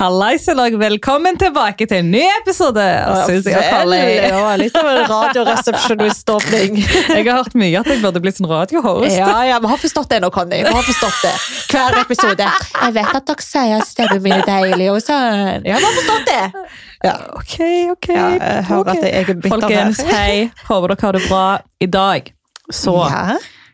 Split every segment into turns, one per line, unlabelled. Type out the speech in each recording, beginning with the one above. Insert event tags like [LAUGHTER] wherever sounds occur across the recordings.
Hallais og velkommen tilbake til en ny episode av Susi og
Vel,
Polly.
Ja, litt av en radioresepsjoniståpning.
[LAUGHS] Jeg har hørt mye at jeg burde blitt sånn radiohost.
Ja, ja, vi har forstått det nå, Conny. Vi har forstått det. Hver episode. Jeg vet at dere sier at stemmen min er deilig og sånn. Ja, vi har forstått det.
Ok, ok.
Ja, jeg hører
ok.
at jeg er bitter her.
Folkens, hei. Håper dere har det bra i dag. Så,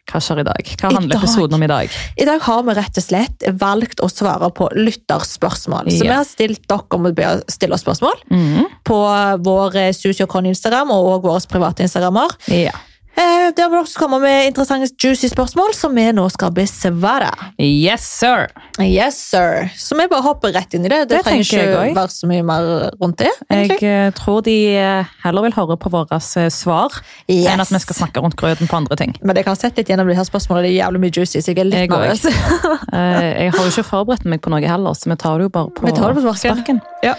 hva skjer i dag? Hva
I
handler
dag?
episoden om i dag?
I dag har vi rett og slett valgt å svare på lytterspørsmål. Så
Ja. Mhm.
vi har stilt dere om å be- stille oss spørsmål på vår eh, Susi og Conny-instagram og også våre private instagrammer.
Ja.
Eh, Der vil også komme med interessante juicy spørsmål som vi nå skal besvare.
Yes, sir.
Yes, sir. Så vi bare hopper rett inn i det. Det,
Det
trenger
tenker jeg
ikke
også.
være så mye mer rundt det.
Jeg
egentlig.
eh, tror de eh, heller vil høre på våre eh, svar,
Yes.
enn at vi skal snakke rundt grøten på andre ting.
Men jeg har sett litt gjennom de her spørsmålene, det er jævlig mye juicy, så jeg er litt
Jeg
nervøs.
også.
[LAUGHS]
Eh, Jeg har jo ikke forberedt meg på noe heller, så vi tar det jo bare på,
Vi tar det på sparken. Ja.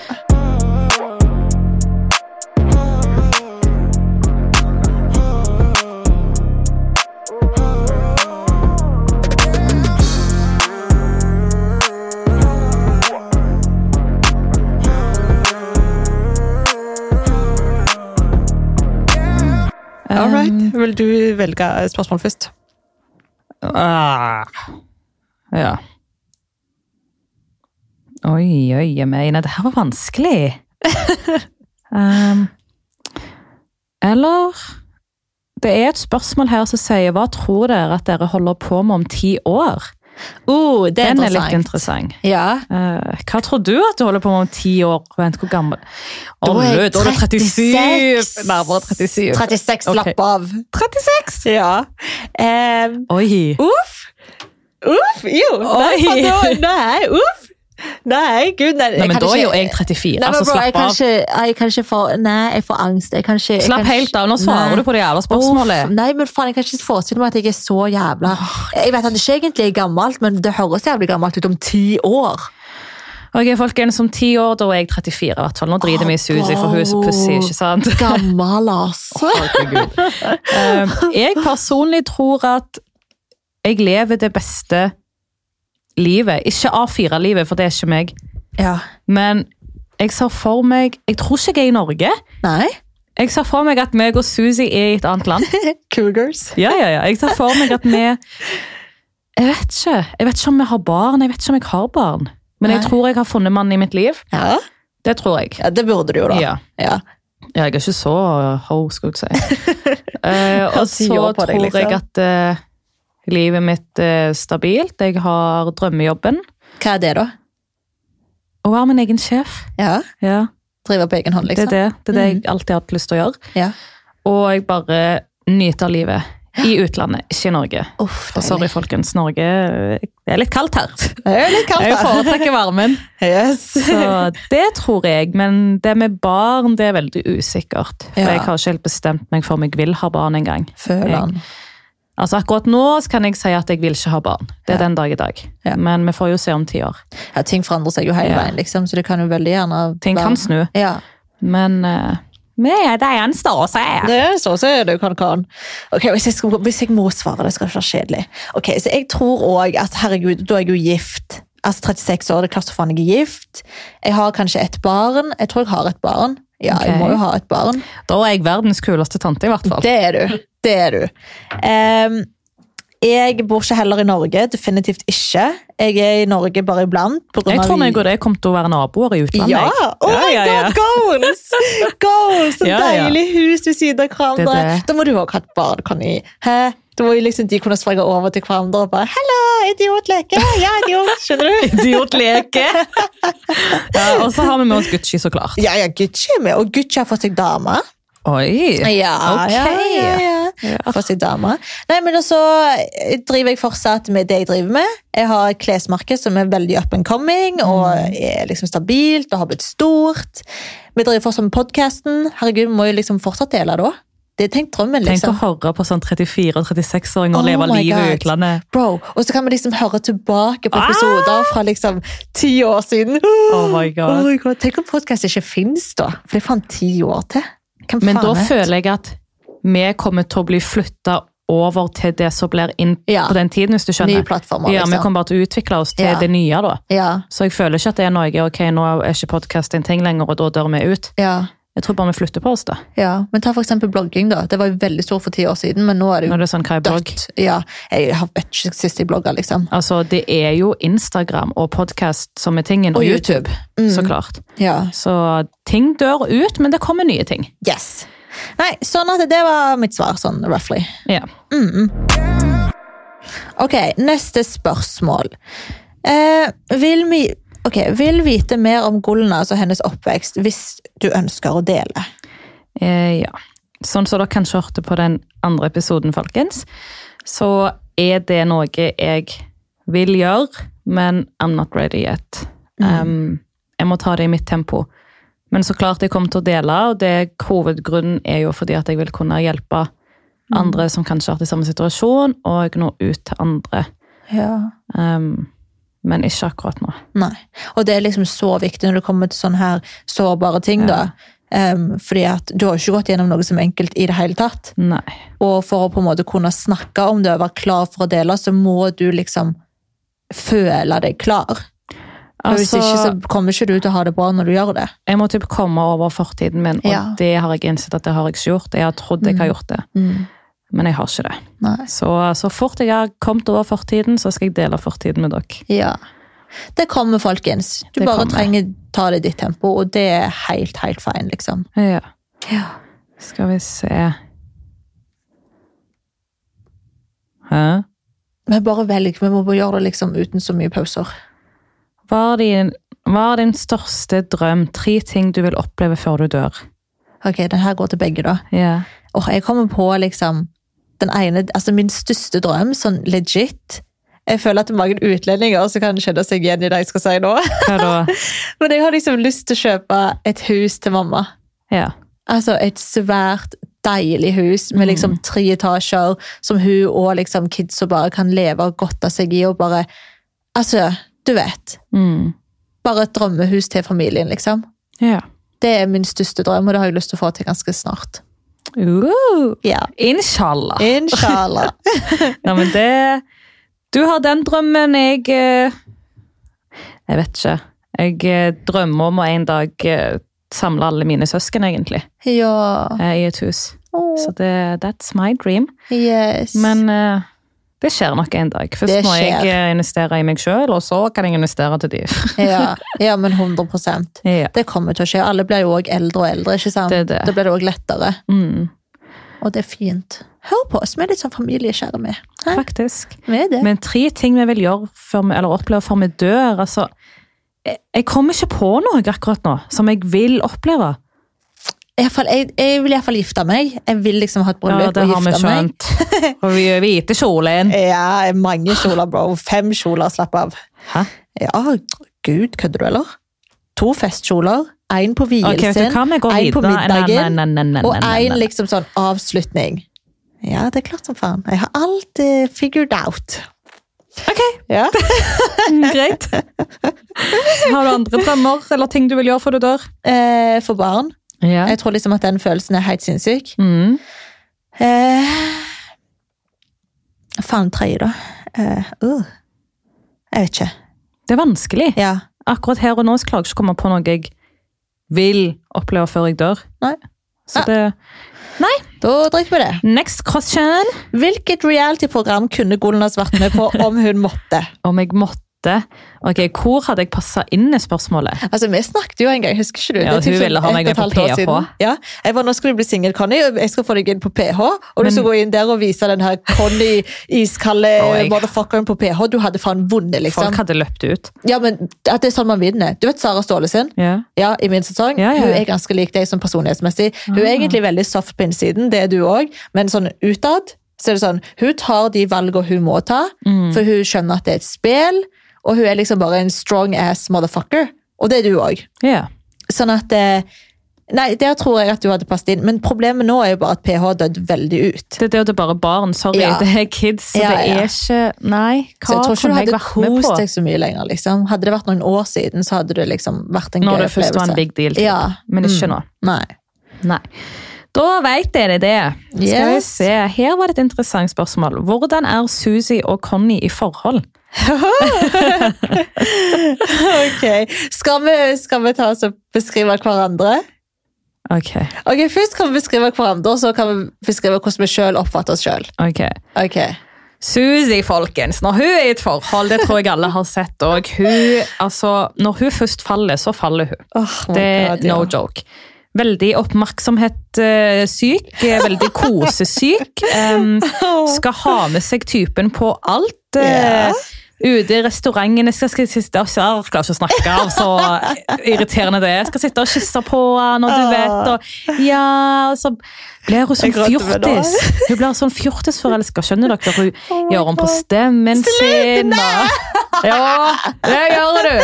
All right. Vil du velge eh, spørsmål først?
Ah. Ja. Oi, oi, jeg mener, det her var vanskelig. [LAUGHS] um, eller Det er et spørsmål her som sier hva tror dere at dere holder på med om ti år?
Oh, det er
Den er
interessant.
litt interessant.
Ja.
Eh, hva tror du at du holder på med om ti år? Vent, hvor gammel
Da
Å,
er
lø,
jeg
Da er du 37!
36.
Nærmere 37.
36
Ok.
slapp av.
36!
Ja. Em,
Oi!
uff! Uff! Jo! Nei,
Oi.
for da, nei, uff! Nei, gud, nei.
Nei,
jeg
men
kan
da er
ikke-
jo jeg 34,
Nei, men
altså
bro, jeg
slapp
kan
av.
ikke, jeg kan ikke få, nei, jeg får angst. Jeg kan ikke, jeg
Slapp
kan
helt
ikke-
av, nå svarer
nei.
du på det jævla
Uff,
spørsmålet.
nei, men faen, jeg kan ikke forestille meg at jeg er så jævla Jeg vet at det ikke egentlig er gammelt, men det høres jævlig gammelt ut om ti år.
Ok, folkens, om ti år, da er jeg 34 i hvert fall. Nå driter vi i Susi, for hun er så pussig, ikke sant?
Gammel,
[LAUGHS]
altså.
Um, Jeg personlig tror at jeg lever det beste livet. Ikke A4-livet, for det er ikke meg.
Ja.
Men jeg ser for meg Jeg tror ikke jeg er i Norge.
Nei? [LAUGHS]
Jeg ser for meg at meg og Susi er i et annet land.
Cougars.
Ja, ja, ja. Jeg ser for meg at vi Jeg vet ikke. Jeg vet ikke om vi har barn. Jeg vet ikke om jeg har barn. Men jeg
Nei.
tror jeg har funnet mannen i mitt liv.
Ja.
Det tror jeg.
ja, det burde du jo, da.
Ja.
Ja.
Ja, jeg er ikke så uh, ho, skulle jeg [LAUGHS] si. Eh, og
ti
så
år på
tror
deg, liksom.
jeg at eh, livet mitt er stabilt. Jeg har drømmejobben.
Hva er det, da?
Å være min egen sjef.
Ja.
Ja,
Drive på egen hånd,
det
liksom?
er det. Det er det jeg alltid har hatt lyst til å gjøre.
Ja.
Og jeg bare nyter livet. I utlandet, ikke i Norge.
Uff,
For sorry, folkens. Norge eh, Det er litt kaldt her.
Det er jo litt kaldt,
Jeg
da.
foretrekker varmen.
[LAUGHS] Yes.
Så
[LAUGHS]
det tror jeg. Men det med barn, det er veldig usikkert. For
Ja.
jeg har ikke helt bestemt meg for om jeg vil ha barn engang.
Føler han.
Altså Akkurat nå så kan jeg si at jeg vil ikke ha barn. Det er den dag i dag.
Ja.
Men vi får jo se om ti år.
Ja, ting forandrer seg jo hele
Ja.
veien, liksom, så det kan jo veldig gjerne
Ting
være-
kan snu.
Ja.
Men eh, vi er det gjenstår å se.
Det er så så er det jo kan kan. Ok, hvis jeg, skal, hvis jeg må svare, det skal ikke være kjedelig. Ok, så jeg tror også at herregud, da er jeg jo gift. Altså 36 år, det er klart så faen jeg er gift. Jeg har kanskje et barn. Jeg tror jeg har et barn. Ja,
Ok.
jeg må jo ha et barn.
Da er jeg verdens kuleste tante, i hvert fall.
Det er du. Det er du. Ehm, jeg bor ikke heller i Norge, definitivt ikke. Jeg er i Norge bare iblant. på grunn
Jeg
av-
tror meg og det kommer til å være naboer i utlandet.
Ja!
jeg.
Oh
Ja,
my
ja, ja.
god, goals! Goals, Så
Ja, ja.
deilig hus ved siden av hverandre.
Det er det.
Da må du også ha et barn, Conny. Hæ? Da må jo liksom de kunne springe over til hverandre og bare 'Hallo, idiot, leke!' Ja, idiot,
[LAUGHS]
skjønner du?
[LAUGHS] Idiotleke!
[LAUGHS]
ja, og så har vi med oss Gucci, så klart.
Ja, ja, Gucci er med, og Gucci har fått seg dame.
Oi!
Ja,
Ok.
ja, ja, ja.
Ja.
Fått seg dame. Nei, men også eh, driver jeg fortsatt med det jeg driver med. Jeg har et klesmarked som er veldig up and coming,
Mm.
og er liksom stabilt og har blitt stort. Vi driver fortsatt med podkasten. Herregud, vi må jo liksom fortsatt dele da. Det er tenkt drømmen,
Tenk å
liksom.
høre på sånn 34- og 36-åringer
Oh
leve
my
livet i
God.
utlandet.
Bro, Og så kan vi liksom høre tilbake på
Ah!
episoder fra liksom ti år siden.
Oh
[GASPS]
my God.
Oh my God. Tenk om podkast ikke fins, da. For det er faen eh? ti år til. Hvem
Men da
faen vet?
føler jeg at vi kommer til å bli flytta over til det som blir inn
Ja.
på den tiden, hvis du skjønner.
Nye plattformer,
ja, Vi
liksom.
kommer bare til å utvikle oss til
Ja.
det nye, da.
Ja.
Så jeg føler ikke at det er noe ok, nå er ikke podkast en ting lenger, og da dør vi ut.
ja.
Jeg tror bare vi flytter på oss, da.
ja. Men ta for eksempel blogging, da. Det var jo veldig stort for ti år siden, men nå er det jo
Når det er sånn hva er blogg.
dødt. Ja. Jeg har vet ikke sist jeg blogga, liksom.
Altså, det er jo Instagram og podkast som er tingen, og,
Og Mm.
YouTube, så klart.
Ja.
Så ting dør ut, men det kommer nye ting.
Yes. Nei, sånn at det var mitt svar, sånn roughly.
Ja.
Ok, neste spørsmål. Eh, vil, vi, ok, vil vite mer om Gulnaz og hennes oppvekst hvis du ønsker å dele.
Eh, ja. Sånn som dere kanskje hørte på den andre episoden, folkens, så er det noe jeg vil gjøre, men I'm not ready yet.
Mhm.
Um, jeg må ta det i mitt tempo. Men så klart jeg kommer til å dele, og det hovedgrunnen er jo fordi at jeg vil kunne hjelpe
Mhm.
andre som kanskje har vært i samme situasjon, og nå ut til andre.
Ja.
Um, men ikke akkurat nå.
Nei. Og det er liksom så viktig når det kommer til sånne her sårbare ting, da. Em, fordi at du har jo ikke gått gjennom noe som er enkelt i det hele tatt.
Nei.
Og for å på en måte kunne snakke om det og være klar for å dele, så må du liksom føle deg klar. Og hvis
Altså-
ikke, så kommer ikke du til å ha det bra når du gjør det.
Jeg må typ komme over fortiden min, og
Ja. Mhm.
det har jeg innsett at det har jeg ikke gjort. Jeg har trodd jeg har gjort det, men jeg har ikke det.
Nei.
Så, så fort jeg har kommet over fortiden, så skal jeg dele fortiden med dere.
Ja. Det kommer, folkens. Du
Det
bare
kommer.
trenger ta det i ditt tempo, og det er helt, helt fine, liksom.
Ja.
Ja.
Skal vi se Hæ?
Men bare velg. Vi må bare gjøre det liksom uten så mye pauser.
Hva er din, hva er din største drøm? Tre ting du vil oppleve før du dør.
Ok, den her går til begge, da.
Ja.
Åh, jeg kommer på liksom den ene, altså min største drøm, sånn legit. Jeg føler at det er mange utlendinger som kan kjenne seg igjen i det jeg skal si nå.
Hva da?
Men jeg har liksom lyst til å kjøpe et hus til mamma.
Ja.
Altså et svært deilig hus med liksom
Mm.
tre etasjer som hun og liksom kidsa bare kan leve og godte seg i og bare Altså, du vet.
Mm.
Bare et drømmehus til familien, liksom.
Ja.
Det er min største drøm, og det har jeg lyst til å få til ganske snart.
Uh.
Ja.
Inshallah. [LAUGHS]
Inshallah.
Nei, men det Du har den drømmen. Jeg eh, Jeg vet ikke. Jeg eh, drømmer om å en dag eh, samle alle mine søsken, egentlig,
ja.
eh, i et hus.
Åh,
Så det, that's my dream.
yes.
Men eh, det skjer nok en dag. Først
Det
må jeg
skjer.
eh, investere i meg sjøl, og så kan jeg investere til de. [LAUGHS]
ja. ja, men 100
ja.
Det kommer til å skje. Alle blir jo òg eldre og eldre, ikke sant?
Det er det.
Da blir det òg lettere.
Mm,
Og det er fint. Hør på oss, vi er litt sånn familiekjære, vi. Hæ?
faktisk.
Vi er det.
Men tre ting vi vil gjøre før vi, eller oppleve før vi dør altså, jeg, jeg kommer ikke på noe akkurat nå som jeg vil oppleve.
I hvert fall- jeg, jeg vil iallfall gifte meg. Jeg vil liksom ha et
Ja,
bryllup
det
og
har vi
gifte meg.
skjønt. [LAUGHS] Og vi er hvite kjolen.
[LAUGHS] Ja, mange kjoler, bro. Fem kjoler, slapp av.
Hæ?
Ja, gud, kødder du, eller? To festkjoler, én på vien
Ok, vet
sin,
du hva, vi går
en på
videre. Nei, nei,
middagen,
nei, nei, nei,
og
nei, nei,
én
nei.
liksom sånn avslutning. Ja, det er klart som faen. Jeg har alt eh, figured out.
Ok,
Ja.
[LAUGHS]
[LAUGHS]
greit. Har du andre drømmer eller ting du vil gjøre før du dør?
Eh, for barn.
Ja.
Jeg tror liksom at den følelsen er helt sinnssyk.
Mm.
Eh, faen, tredje, da. Eh, uh. Jeg vet ikke.
Det er vanskelig.
Ja.
Akkurat her og nå så klarer jeg ikke å komme på noe jeg vil oppleve før jeg dør.
Nei.
Så det
Da drikker vi det.
Next question.
Hvilket reality-program kunne Golnas vært med på om hun måtte?
Om jeg måtte Ok, Hvor hadde jeg passa inn i spørsmålet?
[LAUGHS] Altså, Vi snakket jo en gang, husker ikke du?
Ja,
Det er typ
hun ville ha
sånn
meg
ett
med
og et
på
halvt år
PH.
siden. Ja, jeg var, Nå skal du bli singel, Conny, og jeg skal få deg inn på PH. Og du
Men-
skal gå inn der og vise den her Conny iskalde
Å, jeg-
motherfuckeren på PH. Du hadde faen vunnet, liksom.
Folk hadde løpt ut.
Ja, men at det er sånn man vinner. Du vet Sara Ståle sin?
Ja.
Ja, i min sesong.
Ja, Ah. ja.
Hun er ganske lik deg sånn personlighetsmessig. Hun er egentlig veldig soft på innsiden, det er du òg, men sånn utad så er det sånn, hun tar de valgene hun må ta,
Mm.
for hun skjønner at det er et spill, og hun er liksom bare en strong ass motherfucker. Og det er du òg.
ja.
Sånn at eh, Nei, der tror jeg at du hadde passet inn, men problemet nå er jo bare at PH har dødd veldig ut.
Det, det er jo det bare barn. Sorry,
Ja.
det er kids. Så
Ja,
det
ja.
er ikke Nei,
Så
hva
jeg tror ikke du
kunne jeg
hadde
vært med på?
kost deg så mye lenger. liksom. Hadde det vært noen år siden, så hadde det liksom vært en gøy
Når det
opplevelse. Mm.
først var en big deal. typ.
Ja.
Men ikke nå.
Nei.
Nei. Da veit dere det. Skal vi
Yes.
se. Her var det et interessant spørsmål. Hvordan er Susi og Conny i forhold?
Ok, skal vi, skal vi ta oss og beskrive hverandre?
Ok,
Ok, Først kan vi beskrive hverandre, og så kan vi beskrive hvordan vi selv oppfatter oss sjøl.
ok. Susi, folkens. Når hun er i et forhold, det tror jeg alle har sett òg. Altså, når hun først faller, så faller hun.
Oh
Det er no joke. Veldig oppmerksomhetssyk, eh,
[LAUGHS]
veldig kosesyk. em, skal ha med seg typen på alt. eh,
Ja.
Ute i restaurantene skal, skal sitte og Jeg klarer ikke å snakke av så irriterende det er. Skal sitte og kysse på han, og du vet og Ja, og så blir hun sånn
Jeg gråter med det.
fjortis. Hun blir sånn fjortisforelska, skjønner dere? Hun gjør om på stemmen sin. og- Ja, det gjør du.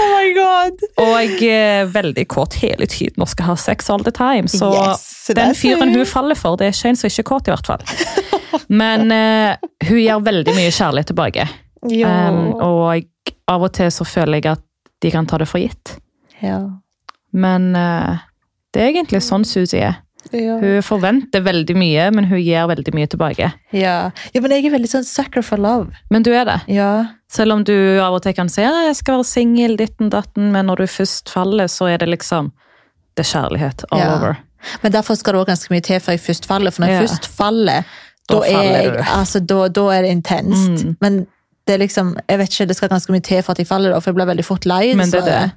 Oh my god!
Og eh, veldig kåt hele tiden og skal ha sex all the time. Så
Yes, det
den
er
fyren
så-
hun faller for, det er ikke en som ikke er kåt, i hvert fall. Men eh, hun gir veldig mye kjærlighet tilbake.
Jo.
Um, og av og til så føler jeg at de kan ta det for gitt.
ja.
Men eh, det er egentlig sånn Susi er.
Ja.
Hun forventer veldig mye, men hun gir veldig mye tilbake.
Ja. ja, men jeg er veldig sånn sucker for love.
Men du er det.
Ja.
Selv om du av og til kan si ja, jeg skal være singel, ditten datten, men når du først faller, så er det liksom Det er kjærlighet all
Ja.
over.
Men derfor skal det også ganske mye til før jeg først faller, for når jeg
Ja.
først faller,
Da
da,
faller
er jeg,
du.
altså, da, da er det intenst.
Mm.
Men det er liksom, jeg vet ikke, det skal ganske mye til for at jeg faller, da, for jeg blir veldig fort lei.
Men det er
dessverre.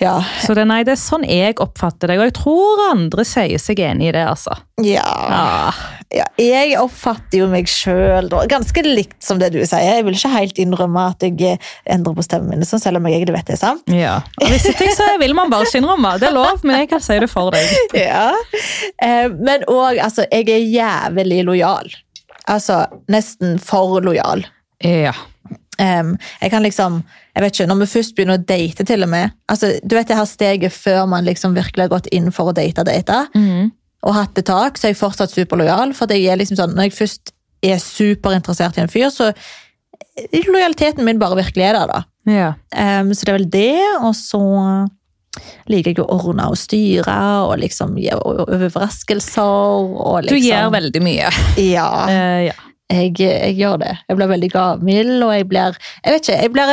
Ja.
Så det, nei, det er sånn jeg oppfatter det, og jeg tror andre sier seg enig i det, altså. Ah.
Ja.
Ja.
ja. Jeg oppfatter jo meg sjøl ganske likt som det du sier. Jeg vil ikke helt innrømme at jeg endrer på stemmen min, sånn, selv om jeg egentlig vet det er sant.
[LAUGHS] ja. Og hvis ikke jeg sier, vil man bare ikke innrømme. Det er lov, men jeg kan si det for deg.
ja. Eh, men òg, altså, jeg er jævlig lojal. Altså nesten for lojal.
Ja.
Em, jeg kan liksom, jeg vet ikke, Når vi først begynner å date, til og med altså, Du vet det her steget før man liksom virkelig har gått inn for å date, date
Mm.
og hatt det tak, så er jeg fortsatt superlojal. For at jeg er liksom sånn, når jeg først er superinteressert i en fyr, så lojaliteten min bare virkelig er der, da.
ja.
Em, så det er vel det, og så liker jeg å ordne og styre og liksom gi o- overraskelser. Og
Du
liksom,
gjør veldig mye.
Ja,
Eh, ja.
jeg, jeg gjør det. Jeg blir veldig gavmild, og jeg blir Jeg vet ikke, jeg blir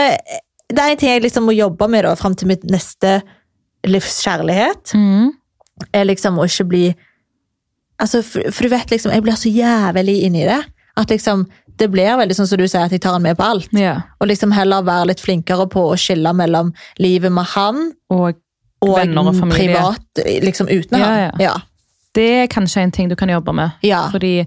Det er en ting jeg liksom må jobbe med da, fram til mitt neste livs kjærlighet,
Mm.
er liksom å ikke bli Altså, for, for du vet liksom, jeg blir så jævlig inni det. At liksom, det blir veldig sånn som du sier, at jeg tar han med på alt.
ja.
Og liksom heller være litt flinkere på å skille mellom livet med han
Og
og
Venner og familie.
privat, liksom uten
Ja,
han. Ja.
det er kanskje en ting du kan jobbe med.
Ja.
Fordi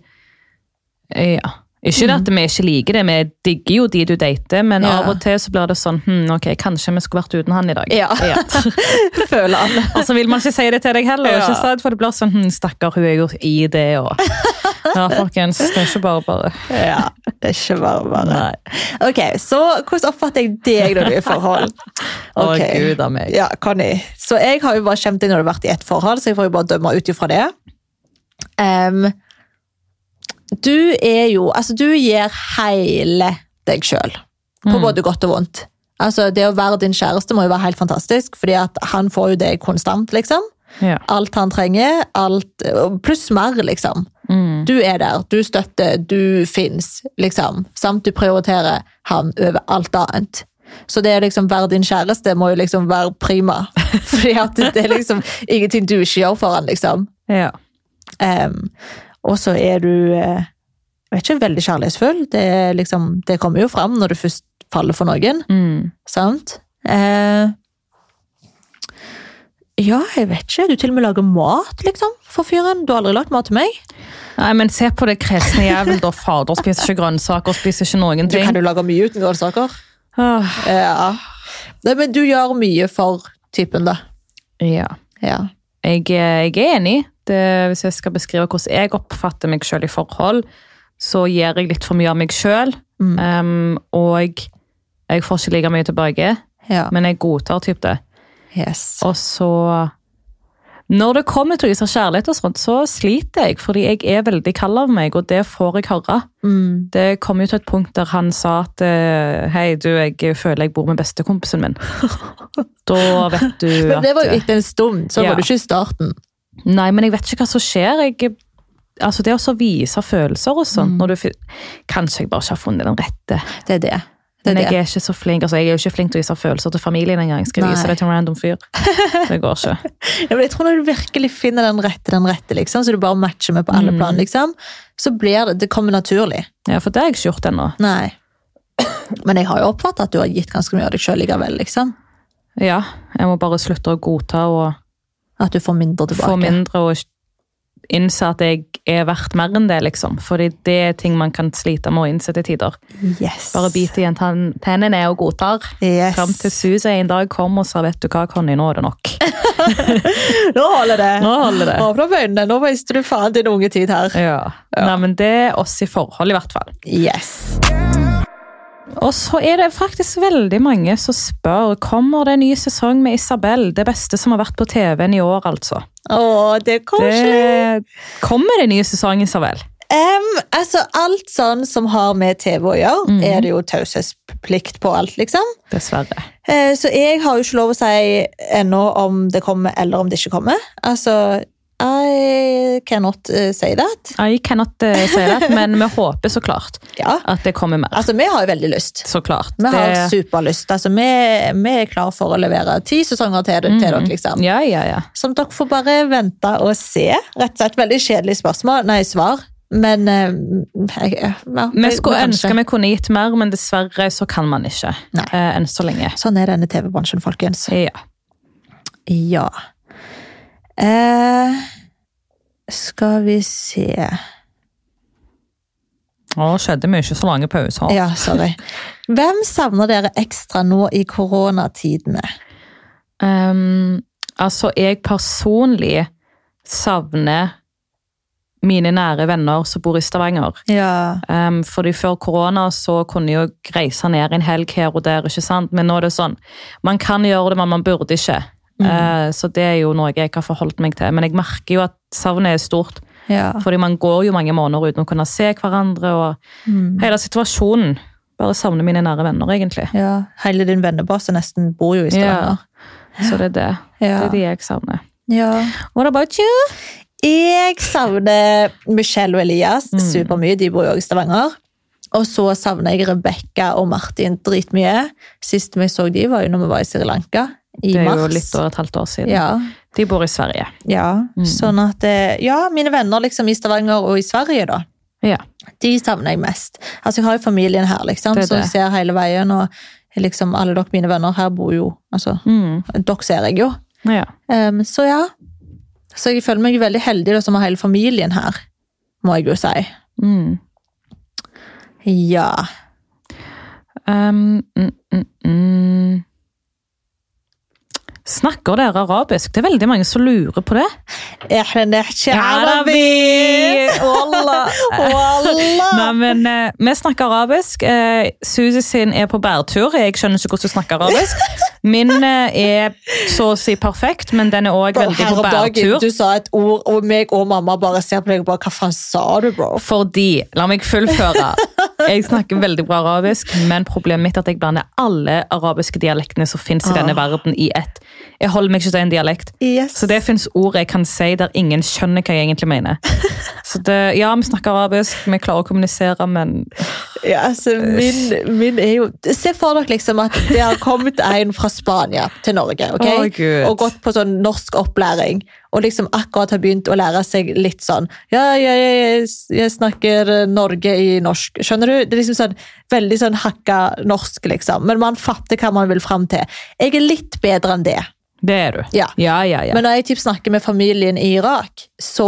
eh, ja. Ikke det at vi ikke liker det, vi digger jo de du dater, men
Ja.
av og til så blir det sånn hm, ok, kanskje vi skulle vært uten han i dag.
Ja. [LAUGHS]
[LAUGHS]
Føler alle.
Og så vil man ikke si det til deg heller,
Ja.
ikke sant? for det blir sånn hm, Stakkar, hun er jo i det
[LAUGHS]
og Ja, folkens, det er ikke bare bare.
Ja, det er ikke bare bare. Ok, så hvordan oppfatter jeg deg når du er i forhold?
Å,
Ok.
gud a meg.
Ja, Conny. Så jeg har jo bare kjent deg når du har vært i ett forhold, så jeg får jo bare dømme ut ifra det. Em, du er jo Altså, du gir hele deg sjøl. På
Mm.
både godt og vondt. Altså, Det å være din kjæreste må jo være helt fantastisk, fordi at han får jo deg konstant, liksom.
Ja.
Alt han trenger, alt og Pluss mer, liksom.
Mm.
Du er der, du støtter, du fins, liksom. Samt du prioriterer han over alt annet. Så det å liksom være din kjæreste må jo liksom være prima. Fordi at det er liksom ingenting du ikke gjør for han, liksom.
Ja.
Em, og så er du eh, jeg vet ikke, veldig kjærlighetsfull. Det, er liksom, det kommer jo fram når du først faller for noen.
Mm.
Sant? Eh, ja, jeg vet ikke. Du til og med lager mat, liksom, for fyren. Du har aldri lagd mat til meg.
Nei, men se på det kresne jævel, da. Fader spiser ikke grønnsaker, spiser ikke noen
Du kan
ting.
jo lage mye uten grønnsaker.
Åh,
Ja. Nei, men du gjør mye for typen, da.
Ja.
Ja.
Jeg, eh, jeg er enig. Det, hvis jeg skal beskrive hvordan jeg oppfatter meg sjøl i forhold, så gir jeg litt for mye av meg sjøl.
Mm.
og jeg får ikke like mye tilbake,
ja.
men jeg godtar typ det.
Yes.
Og så Når det kommer til å vise kjærlighet, og sånt, så sliter jeg, fordi jeg er veldig kald av meg, og det får jeg høre.
Mm.
Det kom jo til et punkt der han sa at eh, hei, du, jeg føler jeg bor med bestekompisen min. [LAUGHS] da vet du
Men det var jo
at
etter en stund, så
Ja.
var du ikke i starten.
Nei, men jeg vet ikke hva som skjer. Jeg, altså det å så vise følelser og
Mm.
sånt når du, fi- Kanskje jeg bare ikke har funnet den rette.
Det er det. det,
Men
er
jeg
det.
er ikke så flink altså jeg er jo ikke flink til å vise følelser til familien engang. Skal
Nei.
jeg vise det til en random
[LAUGHS]
fyr? Det går ikke.
Ja, men jeg tror når du virkelig finner den rette, den rette, liksom, så du bare matcher med på alle
Mm.
plan, liksom, så blir det, det kommer naturlig.
Ja, For det har jeg ikke gjort ennå.
Nei. Men jeg har jo oppfattet at du har gitt ganske mye av deg selv likevel, liksom.
Ja, jeg må bare slutte å godta og
At du får mindre tilbake.
få mindre og innse at jeg er verdt mer enn det, liksom. Fordi det er ting man kan slite med å innse til tider.
Yes.
Bare bite igjen tann- tennene ned og godtar.
Yes.
Fram til Suze en dag kom og sa 'vet du hva, Conny, nå er det nok'.
[LAUGHS] [LAUGHS] Nå holder det.
Nå holder det.
Åpne opp øynene. Nå visste du faen din unge tid her.
Ja. Nei, men det er oss i forhold, i hvert fall.
Yes.
Og så er det faktisk veldig mange som spør kommer det en ny sesong med Isabel. Det beste som har vært på TV-en i år, altså.
Å, det er koselig.
Det kommer det en ny sesong, Isabel?
Em, altså, alt sånn som har med TV å gjøre,
Mhm.
er det jo taushetsplikt på alt, liksom.
Dessverre.
Eh, Så jeg har jo ikke lov å si ennå om det kommer eller om det ikke kommer. Altså, I cannot eh, say that.
I cannot eh, si det, men vi håper så klart
Ja.
at det kommer mer.
Altså, vi har jo veldig lyst.
Så klart.
Vi har
Det-
superlyst. Altså, vi, vi er klar for å levere ti sesonger til, til dere, liksom.
Mhm. Mm. Ja, ja, ja.
Som dere får bare vente og se. Rett og slett veldig kjedelig spørsmål. Nei, svar. Men eh, jeg, ja,
Vi skulle
kanskje.
ønske vi kunne gitt mer, men dessverre så kan man ikke.
Nei.
eh, Enn så lenge.
Sånn er denne TV-bransjen, folkens.
Ja.
Ja. Eh, skal vi se
Å, skjedde mye så lange pauser. [LAUGHS]
Ja, sorry. Hvem savner dere ekstra nå i koronatidene?
Ehm, altså, jeg personlig savner mine nære venner som bor i Stavanger.
Ja.
Um, fordi før korona så kunne jeg jo reise ned en helg her og der, ikke sant? Men nå er det sånn, man kan gjøre det, men man burde ikke. Eh, så det er jo noe jeg ikke har forholdt meg til. Men jeg merker jo at savnet er stort.
ja.
Fordi man går jo mange måneder uten å kunne se hverandre, og
Mm.
hele situasjonen. Bare savner mine nære venner, egentlig.
ja. Hele din vennebase nesten bor jo i Stavanger.
Så det er det. Det
Ja.
er de jeg savner.
ja.
What about you?
Jeg savner Michelle og Elias
Mm.
supermye. De bor jo også i Stavanger. Og så savner jeg Rebekka og Martin dritmye. Sist vi så de var jo når vi var i Sri Lanka. I
Det er
mars.
jo litt over et halvt år siden. Mm.
Ja,
De bor i Sverige.
Ja, sånn at eh, Ja, mine venner liksom i Stavanger og i Sverige, da.
Ja.
De savner jeg mest. Altså, jeg har jo familien her, liksom,
Det er
som jeg
det.
ser hele veien. Og liksom alle dere mine venner her bor jo Altså,
Mm.
dere ser jeg jo.
ja.
Em, Ehm, så ja. Så jeg føler meg jo veldig heldig da, som har hele familien her, må jeg jo si.
Mm.
Ja.
Um, mm, mm, mm. Snakker dere arabisk? Det er veldig mange som lurer på det.
[LAUGHS]
Wallah. [LAUGHS] Nei,
Wallah!
men eh, Vi snakker arabisk. Eh, Suzy sin er på bærtur. Jeg skjønner ikke hvordan hun snakker
[LAUGHS]
arabisk. Min eh, er så å si perfekt, men den er òg
Bro,
veldig
her
på
om dagen,
bærtur.
du sa et ord, og meg og mamma bare ser på meg og bare Hva faen sa du, bro?
Fordi, la meg fullføre
[LAUGHS]
Jeg snakker veldig bra arabisk Men problemet mitt er at jeg blander alle arabiske dialektene Som finnes i denne
Ah.
verden i ett Jeg holder meg ikke til en dialekt
Yes.
Så det finnes ord jeg kan si der ingen skjønner hva jeg egentlig
[LAUGHS]
mener Så det, ja, vi snakker arabisk Vi klarer å kommunisere, men
Ja, altså, min, min er jo Se for dere liksom at det har kommet en fra Spania til Norge ok?
Å, Gud.
og gått på sånn norsk opplæring. Og liksom akkurat har begynt å lære seg litt sånn Ja, ja, ja, jeg, jeg snakker eh, Norge i norsk. Skjønner du? Det er liksom sånn Veldig sånn hakka norsk, liksom. Men man fatter hva man vil fram til. Jeg er litt bedre enn det.
det er du
Ja.
ja, ja, ja.
Men når jeg typ snakker med familien i Irak, så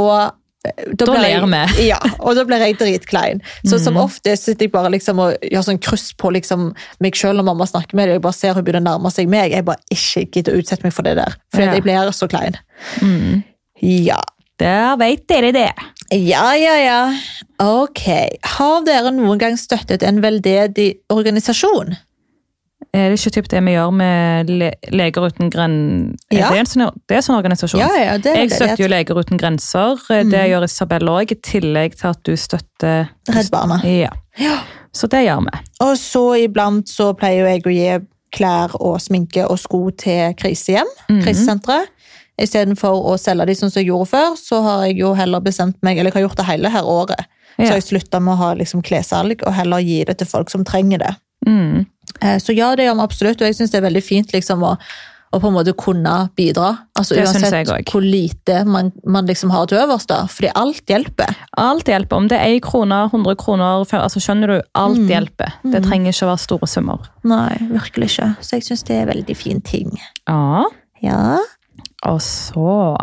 eh, da, blir jeg-
ler Mhm.
ja, og da blir jeg dritklein. Så som ofte sitter jeg bare liksom og gjør sånn kryss på liksom meg sjøl når mamma snakker med det, og jeg bare ser hun begynner å nærme seg meg. Jeg bare ikke gidder å utsette meg for det der, for
Ja.
jeg blir så klein.
Mm.
Ja.
Der vet dere det
Ja, ja, ja. Ok. Har dere noen gang støttet en veldedig organisasjon?
Er det ikke typ det vi gjør med le Leger uten grenser?
Ja.
Det er en sånn, det er en sånn organisasjon
Ja, ja, det er Mhm.
Jeg støtter jo
veldedighet.
Leger uten grenser. Eh, Det gjør Isabel òg, i tillegg til at du støtter
Redd Barna.
Ja.
Ja.
Så det gjør vi.
Og så iblant så Mhm. pleier jo jeg å gi klær og sminke og sko til krisehjem, krisesentre. Istedenfor å selge de sånn som jeg gjorde før, så har jeg jo heller bestemt meg, eller jeg har gjort det hele her året. Så
Ja.
jeg slutta med å ha liksom klessalg, og heller gi det til folk som trenger det.
Mm.
Eh, Så ja, det gjør vi absolutt, og jeg syns det er veldig fint liksom å å på en måte kunne bidra. Altså
Det synes jeg
Uansett
også.
hvor lite man, man liksom har til øverst, da. Fordi alt hjelper.
Alt hjelper. Om det er 1 krone, 100 kroner, fem- altså skjønner du, alt
Mm.
hjelper. Det trenger ikke å være store summer.
Nei, virkelig ikke. Så jeg syns det er veldig fin ting.
Ja,
Ja.
og så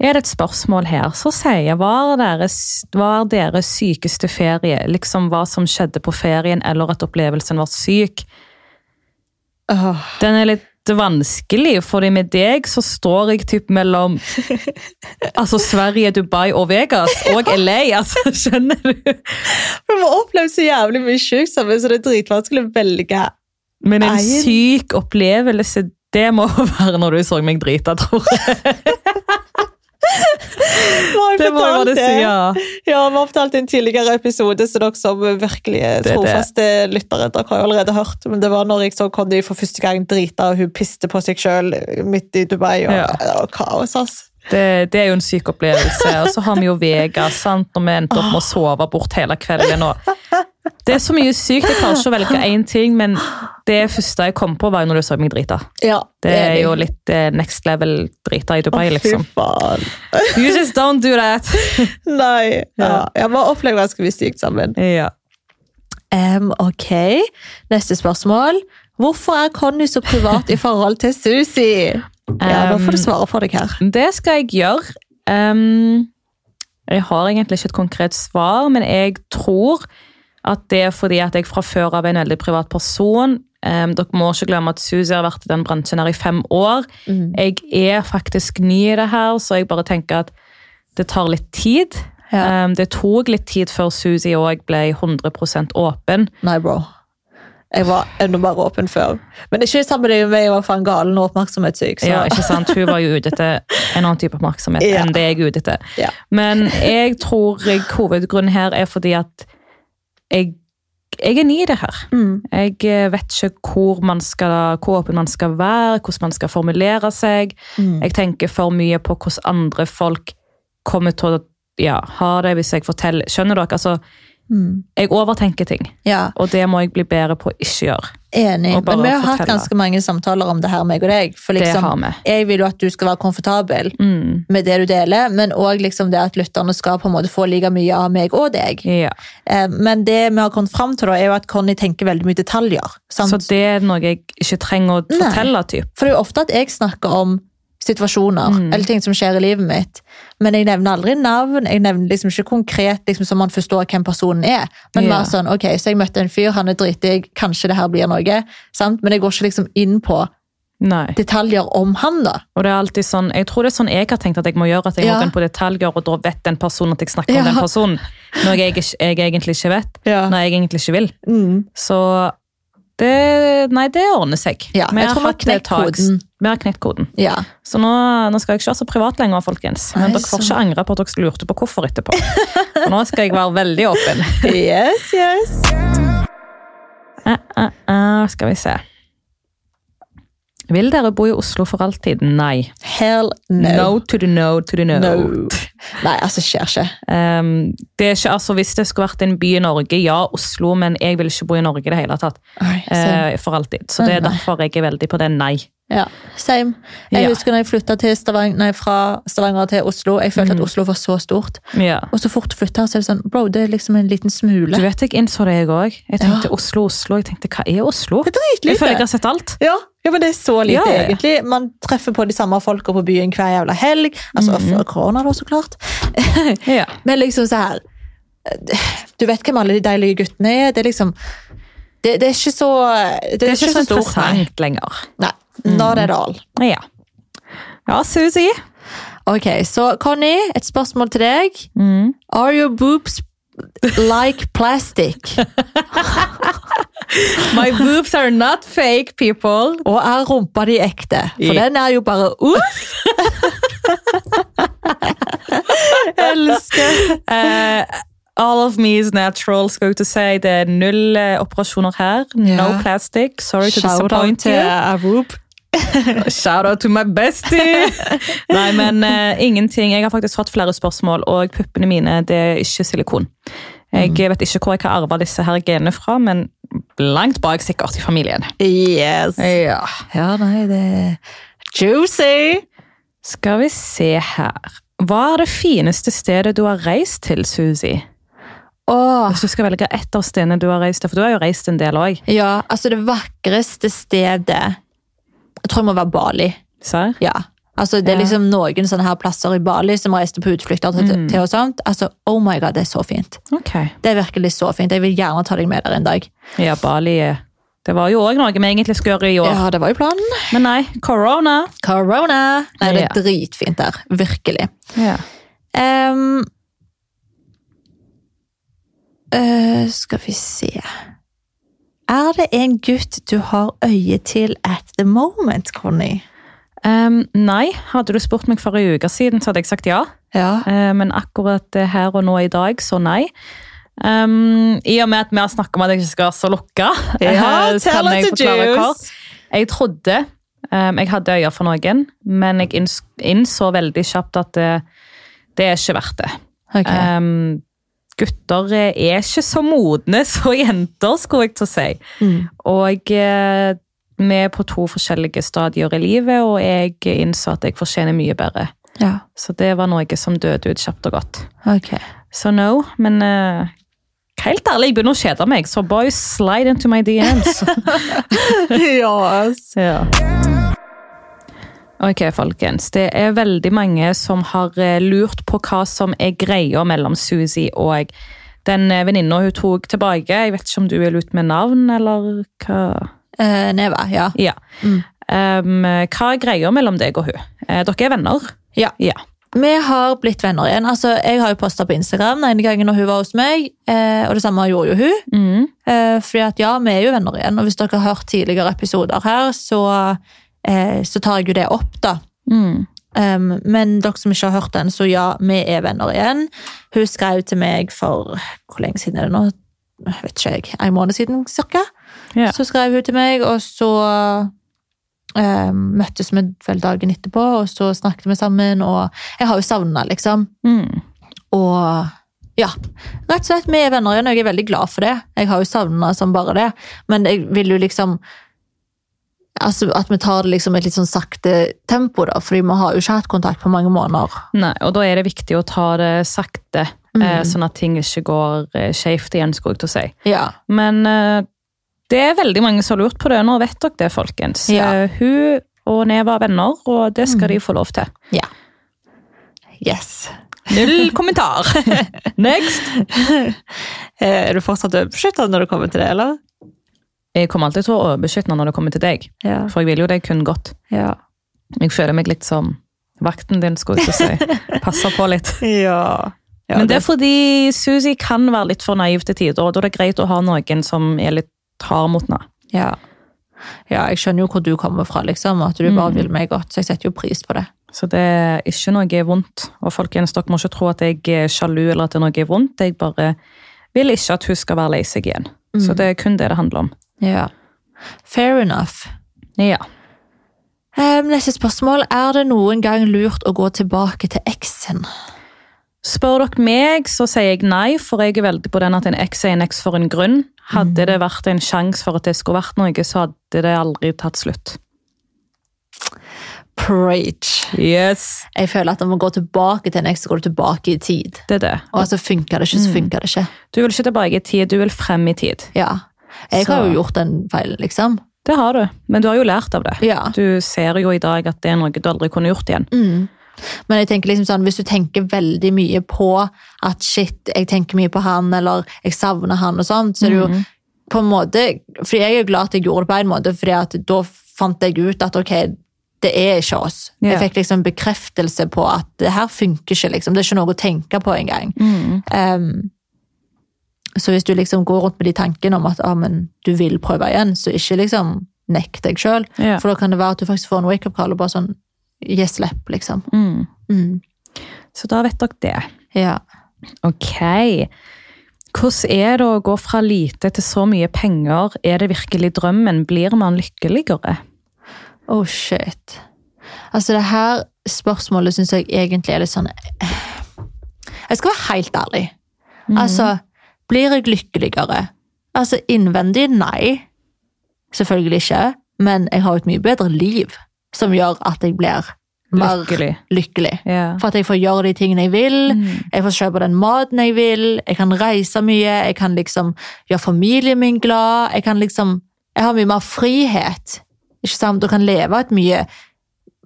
er det et spørsmål her som sier var deres, var deres sykeste ferie, liksom hva som skjedde på ferien, eller at opplevelsen var syk.
Åh.
Den er litt vanskelig, fordi med deg så står jeg typ mellom altså Sverige, Dubai og Vegas, og LA, altså, skjønner du?
Vi har opplevd så jævlig mye sjukt sammen, så det er dritvanskelig å velge.
Men en
Nei.
syk opplevelse, det må [LAUGHS] være når du så meg drita, tror jeg. Det må jo være det sier.
Ja, vi har fortalt i en tidligere episode, så dere som virkelig er
Det er det.
trofaste lyttere dere har jo allerede hørt, men det var når jeg så Condy for første gang drita, og hun piste på seg sjøl midt i Dubai, og
Ja.
det var kaos, ass.
Det, det er jo en syk opplevelse. Og så har vi jo Vegas, sant? når vi endte opp med å sove bort hele kvelden. Og det er så mye sykt. Jeg klarer ikke å velge én ting, men det første jeg kom på, var jo når du så meg drita.
Ja,
Det er jo litt eh, next level drita i Dubai, liksom.
Fy faen.
You just don't do that.
Nei. Ja,
Ja.
ja vi har opplevd ganske mye sykt sammen.
Ja.
Em, ok, neste spørsmål. Hvorfor er Conny så privat i forhold til Susi? Ja, da får du svare for deg her.
Det skal jeg gjøre. Ehm, jeg har egentlig ikke et konkret svar, men jeg tror at det er fordi at jeg fra før av er en veldig privat person. Ehm, dere må ikke glemme at Suzy har vært i den bransjen her i fem år. Jeg er faktisk ny i det her, så jeg bare tenker at det tar litt tid.
Ja.
Ehm, det tok litt tid før Suzy òg ble 100 åpen.
Nei, bro. Jeg var enda bare åpen før. Men ikke sammen med meg, jeg var faen galen og oppmerksomhetssyk. Så.
Ja, ikke sant? Hun var jo ute etter en annen type oppmerksomhet
Ja.
enn det jeg er ute etter.
Ja.
Men jeg tror jeg, hovedgrunnen her er fordi at jeg, jeg er ny i det her.
Mm.
Jeg eh, vet ikke hvor, man skal, hvor åpen man skal være, hvordan man skal formulere seg.
Mm.
Jeg tenker for mye på hvordan andre folk kommer til å ja, ha det hvis jeg forteller. Skjønner dere? Altså,
Mm.
jeg overtenker ting,
ja,
og det må jeg bli bedre på å ikke gjøre.
enig.
Og bare
Men vi har hatt
fortelle.
ganske mange samtaler om det her, meg og deg. For
Det
liksom,
har vi.
jeg vil jo at du skal være komfortabel
Mm.
med det du deler, men òg liksom det at lytterne skal på en måte få like mye av meg og deg.
Ja.
Eh, Men det vi har kommet fram til, da, er jo at Conny tenker veldig mye detaljer.
Så
Sant?
det er noe jeg ikke trenger å
Nei.
fortelle, typ.
For det er jo ofte at jeg snakker om situasjoner
Mm.
eller ting som skjer i livet mitt. Men jeg nevner aldri navn, jeg nevner liksom ikke konkret liksom, så man forstår hvem personen er. Men
Ja.
mer sånn, ok, så jeg møtte en fyr, han er dritdigg, kanskje det her blir noe. Sant? Men jeg går ikke liksom inn på
Nei.
detaljer om han da.
Og det er alltid sånn, Jeg tror det er sånn jeg har tenkt at jeg må gjøre, at jeg
Ja.
må gå inn på detaljer, og da vet den personen at jeg snakker
Ja.
om den personen. Noe jeg, ikke- jeg egentlig ikke vet.
Ja.
Når jeg egentlig ikke vil.
Mm.
Så det Nei, det ordner seg.
Ja, jeg tror vi har
hatt det taks-
knekt koden.
Vi har knekt koden.
Ja.
Så nå, nå skal jeg ikke være så privat lenger, folkens. Men
Nei,
dere får
så-
ikke angre på at dere lurte på hvorfor
[LAUGHS]
etterpå. For nå skal jeg være veldig åpen.
Yes, yes.
Eh, eh, eh, skal vi se. Vil dere bo i Oslo for alltid? Nei.
Hell no.
No to the no to the
No. Nei, altså skjer ikke.
Ehm, det er ikke, altså Hvis det skulle vært en by i Norge, ja, Oslo, men jeg vil ikke bo i Norge i det hele tatt.
Oi, same.
eh, for alltid. Så det er
Nei.
derfor jeg er veldig på det nei.
Ja, same. Jeg
Ja.
husker når jeg flyttet til Stavanger, nei, fra Stavanger til Oslo, jeg følte at Oslo var så stort.
Ja.
Og så fort du flytter her, så er det sånn Bro, det er liksom en
Du
liten smule.
vet, jeg innså det, jeg òg. Jeg tenkte Oslo, Oslo. Jeg tenkte, hva er Oslo?
Det er
Jeg føler jeg
dritlite.
har sett alt.
Ja, ja, men det er så lite,
Ja, ja, ja.
egentlig. Man treffer på de samme folka på byen hver jævla helg. Altså
Mhm.
før korona, da, så klart.
Ja.
Men liksom så her eh, Du vet hvem alle de deilige guttene er. Det er liksom Det, det er ikke så Det,
Det er ikke så
stort, nei.
interessant Mhm. lenger.
nei. Not at all.
Ja. Ja, Susi.
Ok, så Conny, et spørsmål til deg.
Mm.
Are your boobs like plastic?
[LAUGHS] My boobs are not fake, people.
Og er rumpa di ekte? For
Ja.
den er jo bare uff!
[LAUGHS]
Elsker.
Eh, all of me is natural, skal jeg til å si. Det er null eh, operasjoner her.
Ja.
No plastic. Sorry to
Shout out
disappoint
til
you.
Arup.
Shout out to my bestie! [LAUGHS] Nei, men eh, ingenting. Jeg har faktisk fått flere spørsmål, og puppene mine det er ikke silikon. Jeg vet ikke hvor jeg har arva disse her genene fra, men langt bak sikkert i familien.
Yes.
Ja.
Ja, nei, det er juicy.
Skal vi se her. Hva er det fineste stedet du har reist til, Susi?
Åh,
Hvis du skal velge ett av stedene du har reist til, for du har jo reist en del òg.
ja, altså det vakreste stedet Jeg tror det må være Bali.
Serr?
Ja. Altså, det er
Ja.
liksom noen sånne her plasser i Bali som reiste på utflukter til,
Mm.
til og sånt. Altså, oh my god, det er så fint.
Ok.
Det er virkelig så fint. Jeg vil gjerne ta deg med der en dag.
Ja, Bali eh, Det var jo òg noe vi egentlig skulle gjøre i år,
Ja, det var jo planen.
men nei. Corona.
Corona! Nei, det
Ja.
er dritfint der. Virkelig.
Ja.
Ehm, øh, skal vi se Er det en gutt du har øye til at the moment, Conny?
Ehm, nei, hadde du spurt meg for en uke siden, så hadde jeg sagt ja.
Ja.
Eh, men akkurat det her og nå i dag, så nei. Ehm, I og med at vi har snakket om at jeg ikke skal være så lukka, eh, så kan jeg forklare kort. Jeg trodde ehm, jeg hadde øyne for noen, men jeg inns innså veldig kjapt at det, det er ikke verdt det.
Ok.
Ehm, gutter er ikke så modne [LAUGHS] som jenter, skulle jeg til å si.
Mm.
Og eh, vi er på to forskjellige stadier i livet, og jeg innså at jeg fortjener mye bedre.
Ja,
Så det var noe som døde ut kjapt og godt.
ok.
Så no, men eh, helt ærlig, jeg begynner å kjede meg, så boys, slide into my DMs.
yes.
ja. Ok, folkens. Det er veldig mange som har eh, lurt på hva som er greia mellom Suzy og den eh, venninna hun tok tilbake. Jeg vet ikke om du vil ut med navn, eller hva
Eh, Neva, ja.
Ja.
Mm.
Um, hva er greia mellom deg og hun? Eh, dere er venner?
Ja.
Ja.
Vi har blitt venner igjen. Altså, jeg har jo posta på Instagram den ene gangen når hun var hos meg, eh, og det samme gjorde jo hun.
Mm.
Eh, fordi at ja, vi er jo venner igjen, og hvis dere har hørt tidligere episoder her, så, eh, så tar jeg jo det opp, da.
Mm.
Um, men dere som ikke har hørt den, så ja, vi er venner igjen. Hun skrev til meg for Hvor lenge siden er det nå? Jeg vet ikke jeg, En måned siden, cirka.
Ja.
Så skrev hun til meg, og så um, møttes vi vel dagen etterpå, og så snakket vi sammen, og jeg har jo savna, liksom.
Mm.
Og ja, rett og slett, vi er venner igjen, og jeg er veldig glad for det. Jeg har jo savna som bare det, men jeg vil jo liksom Altså, at vi tar det liksom i et litt sånn sakte tempo, da, fordi vi har jo ikke hatt kontakt på mange måneder.
Nei, og da er det viktig å ta det sakte, eh,
Mm.
sånn at ting ikke går eh, skjevt igjen, skulle jeg til å si.
Ja.
Men eh, det er veldig mange som har lurt på det. Nå vet dere det, folkens.
Ja.
Eh, hun og Neva er venner, og det skal de få lov til.
Yes.
Null [LAUGHS] kommentar! Next!
Eh, Er du fortsatt beskytta når det kommer til det, eller?
Jeg kommer alltid til å overbeskytte henne når det kommer til deg,
Ja.
for jeg vil jo deg kun godt.
Ja.
Jeg føler meg litt som vakten din, skulle jeg [LAUGHS] til å si. Passer på litt. Men det er fordi Susi kan være litt for naiv til tider, og da er det greit å ha noen som er litt hard mot henne.
ja. ja, jeg skjønner jo hvor du kommer fra, liksom, og at du
Mm.
bare vil meg godt, så jeg setter jo pris på det.
Så det er ikke noe vondt. Og folkens, dere må ikke tro at jeg er sjalu eller at det er noe vondt. Jeg bare vil ikke at hun skal være lei seg igjen. Så det er kun det det handler om.
Ja. Fair enough.
Ja.
Ehm, neste spørsmål. Er det noen gang lurt å gå tilbake til eksen?
Spør dere meg, så sier jeg nei, for jeg er veldig på den at en X er en X for en grunn. Hadde det vært en sjanse for at det skulle vært noe, så hadde det aldri tatt slutt.
Preach.
Yes.
Jeg føler at om å gå tilbake til en eks, så går du tilbake i tid.
Det er det.
Og så funker det ikke, så funker det ikke.
Du vil ikke tilbake i tid, du vil frem i tid.
Ja. Jeg har
Så-
jo gjort den feilen, liksom.
Det har du, men du har jo lært av det.
Ja.
Du ser jo i dag at det er noe du aldri kunne gjort igjen.
Mm. Men jeg tenker liksom sånn, hvis du tenker veldig mye på at shit, jeg tenker mye på han, eller jeg savner han og sånt, så er det jo
Mhm.
på en måte Fordi jeg er jo glad at jeg gjorde det på en måte, fordi at da fant jeg ut at ok, det er ikke oss.
Ja.
Jeg fikk liksom bekreftelse på at det her funker ikke, liksom. Det er ikke noe å tenke på engang.
Mhm.
Um, så hvis du liksom går rundt med de tankene om at ah, men, du vil prøve igjen, så ikke liksom nekt deg sjøl.
Ja.
For da kan det være at du faktisk får en wake-up call og bare sånn Gi slipp, liksom.
Mm.
Mm.
Så da vet dere det.
Ja.
Ok. Hvordan er det å gå fra lite til så mye penger? Er det virkelig drømmen? Blir man lykkeligere?
Oh shit. Altså, det her spørsmålet syns jeg egentlig er litt sånn Jeg skal være helt ærlig. Altså, blir jeg lykkeligere? Altså, innvendig nei. Selvfølgelig ikke. Men jeg har jo et mye bedre liv som gjør at jeg blir mer lykkelig.
Lykkelig. Ja.
For at jeg får gjøre de tingene jeg vil,
Mm.
jeg får kjøpe den maten jeg vil, jeg kan reise mye, jeg kan liksom gjøre familien min glad, jeg kan liksom Jeg har mye mer frihet, ikke sant, og kan leve et mye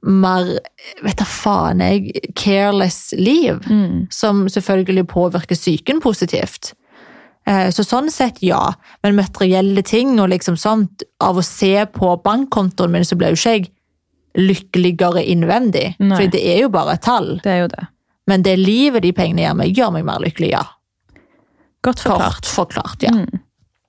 mer, vet da faen jeg, careless liv,
Mm.
som selvfølgelig påvirker psyken positivt. Eh, Så sånn sett, ja. Men materielle ting og liksom sånt, av å se på bankkontoen min, så ble jo ikke jeg lykkeligere innvendig.
Nei.
For det er jo bare tall.
Det er jo det.
Men det livet de pengene gjør meg, gjør meg mer lykkelig, ja.
Godt forklart.
Kort forklart, ja.
Mm.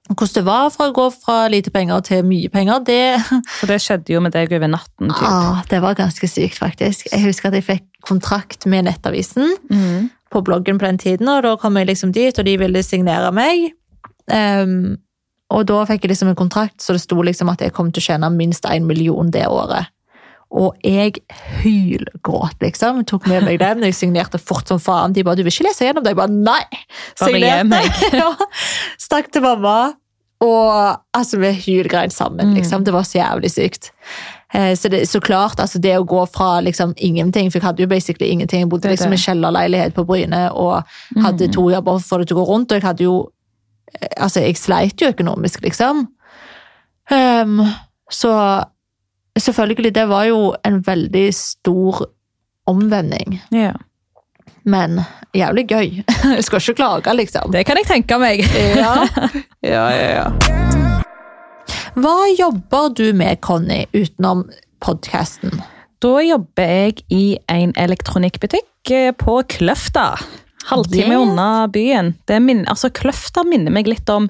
Hvordan det var fra å gå fra lite penger til mye penger, det, [LAUGHS]
For det skjedde jo med deg over natten. Typ.
ah, det var ganske sykt, faktisk. Jeg husker at jeg fikk kontrakt med Nettavisen
Mm.
på bloggen på den tiden, og da kom jeg liksom dit, og de ville signere meg. Ehm, og da fikk jeg liksom en kontrakt, så det sto liksom at jeg kom til å tjene minst en million det året. Og jeg hylgråt, liksom. Tok med meg den, jeg signerte fort som faen. De bare 'du vil ikke lese gjennom det?' Jeg bare 'nei'.
Bare gi meg.
[LAUGHS] ja. Stakk til mamma. Og altså, vi hylgrein sammen,
Mm.
liksom. Det var så jævlig sykt. Eh, Så, det, så klart, altså det å gå fra liksom ingenting, for jeg hadde jo basically ingenting. Jeg bodde
Det er
liksom i
det. Mm.
kjellerleilighet på Bryne og hadde to jobber for det til å gå rundt, og jeg hadde jo eh, Altså, jeg sleit jo økonomisk, liksom. Ehm, så selvfølgelig, det var jo en veldig stor omvending.
Ja.
Men jævlig gøy. [LAUGHS] Jeg skal ikke klage, liksom.
Det kan jeg tenke meg.
Ja. [LAUGHS] ja, ja, ja. Hva jobber du med, Conny, utenom podkasten?
Da jobber jeg i en elektronikkbutikk eh, på Kløfta. Halvtime
Yes.
unna byen. Det er min, altså, Kløfta minner meg litt om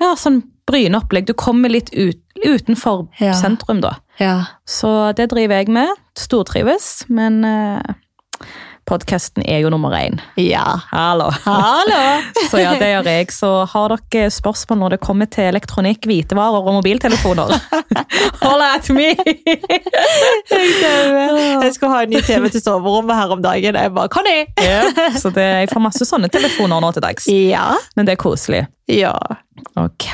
ja, sånn Bryne-opplegg. Du kommer litt ut, utenfor
Ja.
sentrum, da.
Ja.
Så det driver jeg med. Stortrives. Men eh, podkasten er jo nummer én.
Ja.
Hallo!
Hallo!
[LAUGHS] Så ja, det gjør jeg. Så har dere spørsmål når det kommer til elektronikk, hvitevarer og
[LAUGHS]
mobiltelefoner? Hold at me!
[LAUGHS]
[LAUGHS]
Jeg skulle ha en ny TV til soverommet her om dagen. Jeg bare Conny!
Så det, jeg får masse sånne telefoner nå til dags.
Ja.
Men det er koselig.
Ja.
Ok.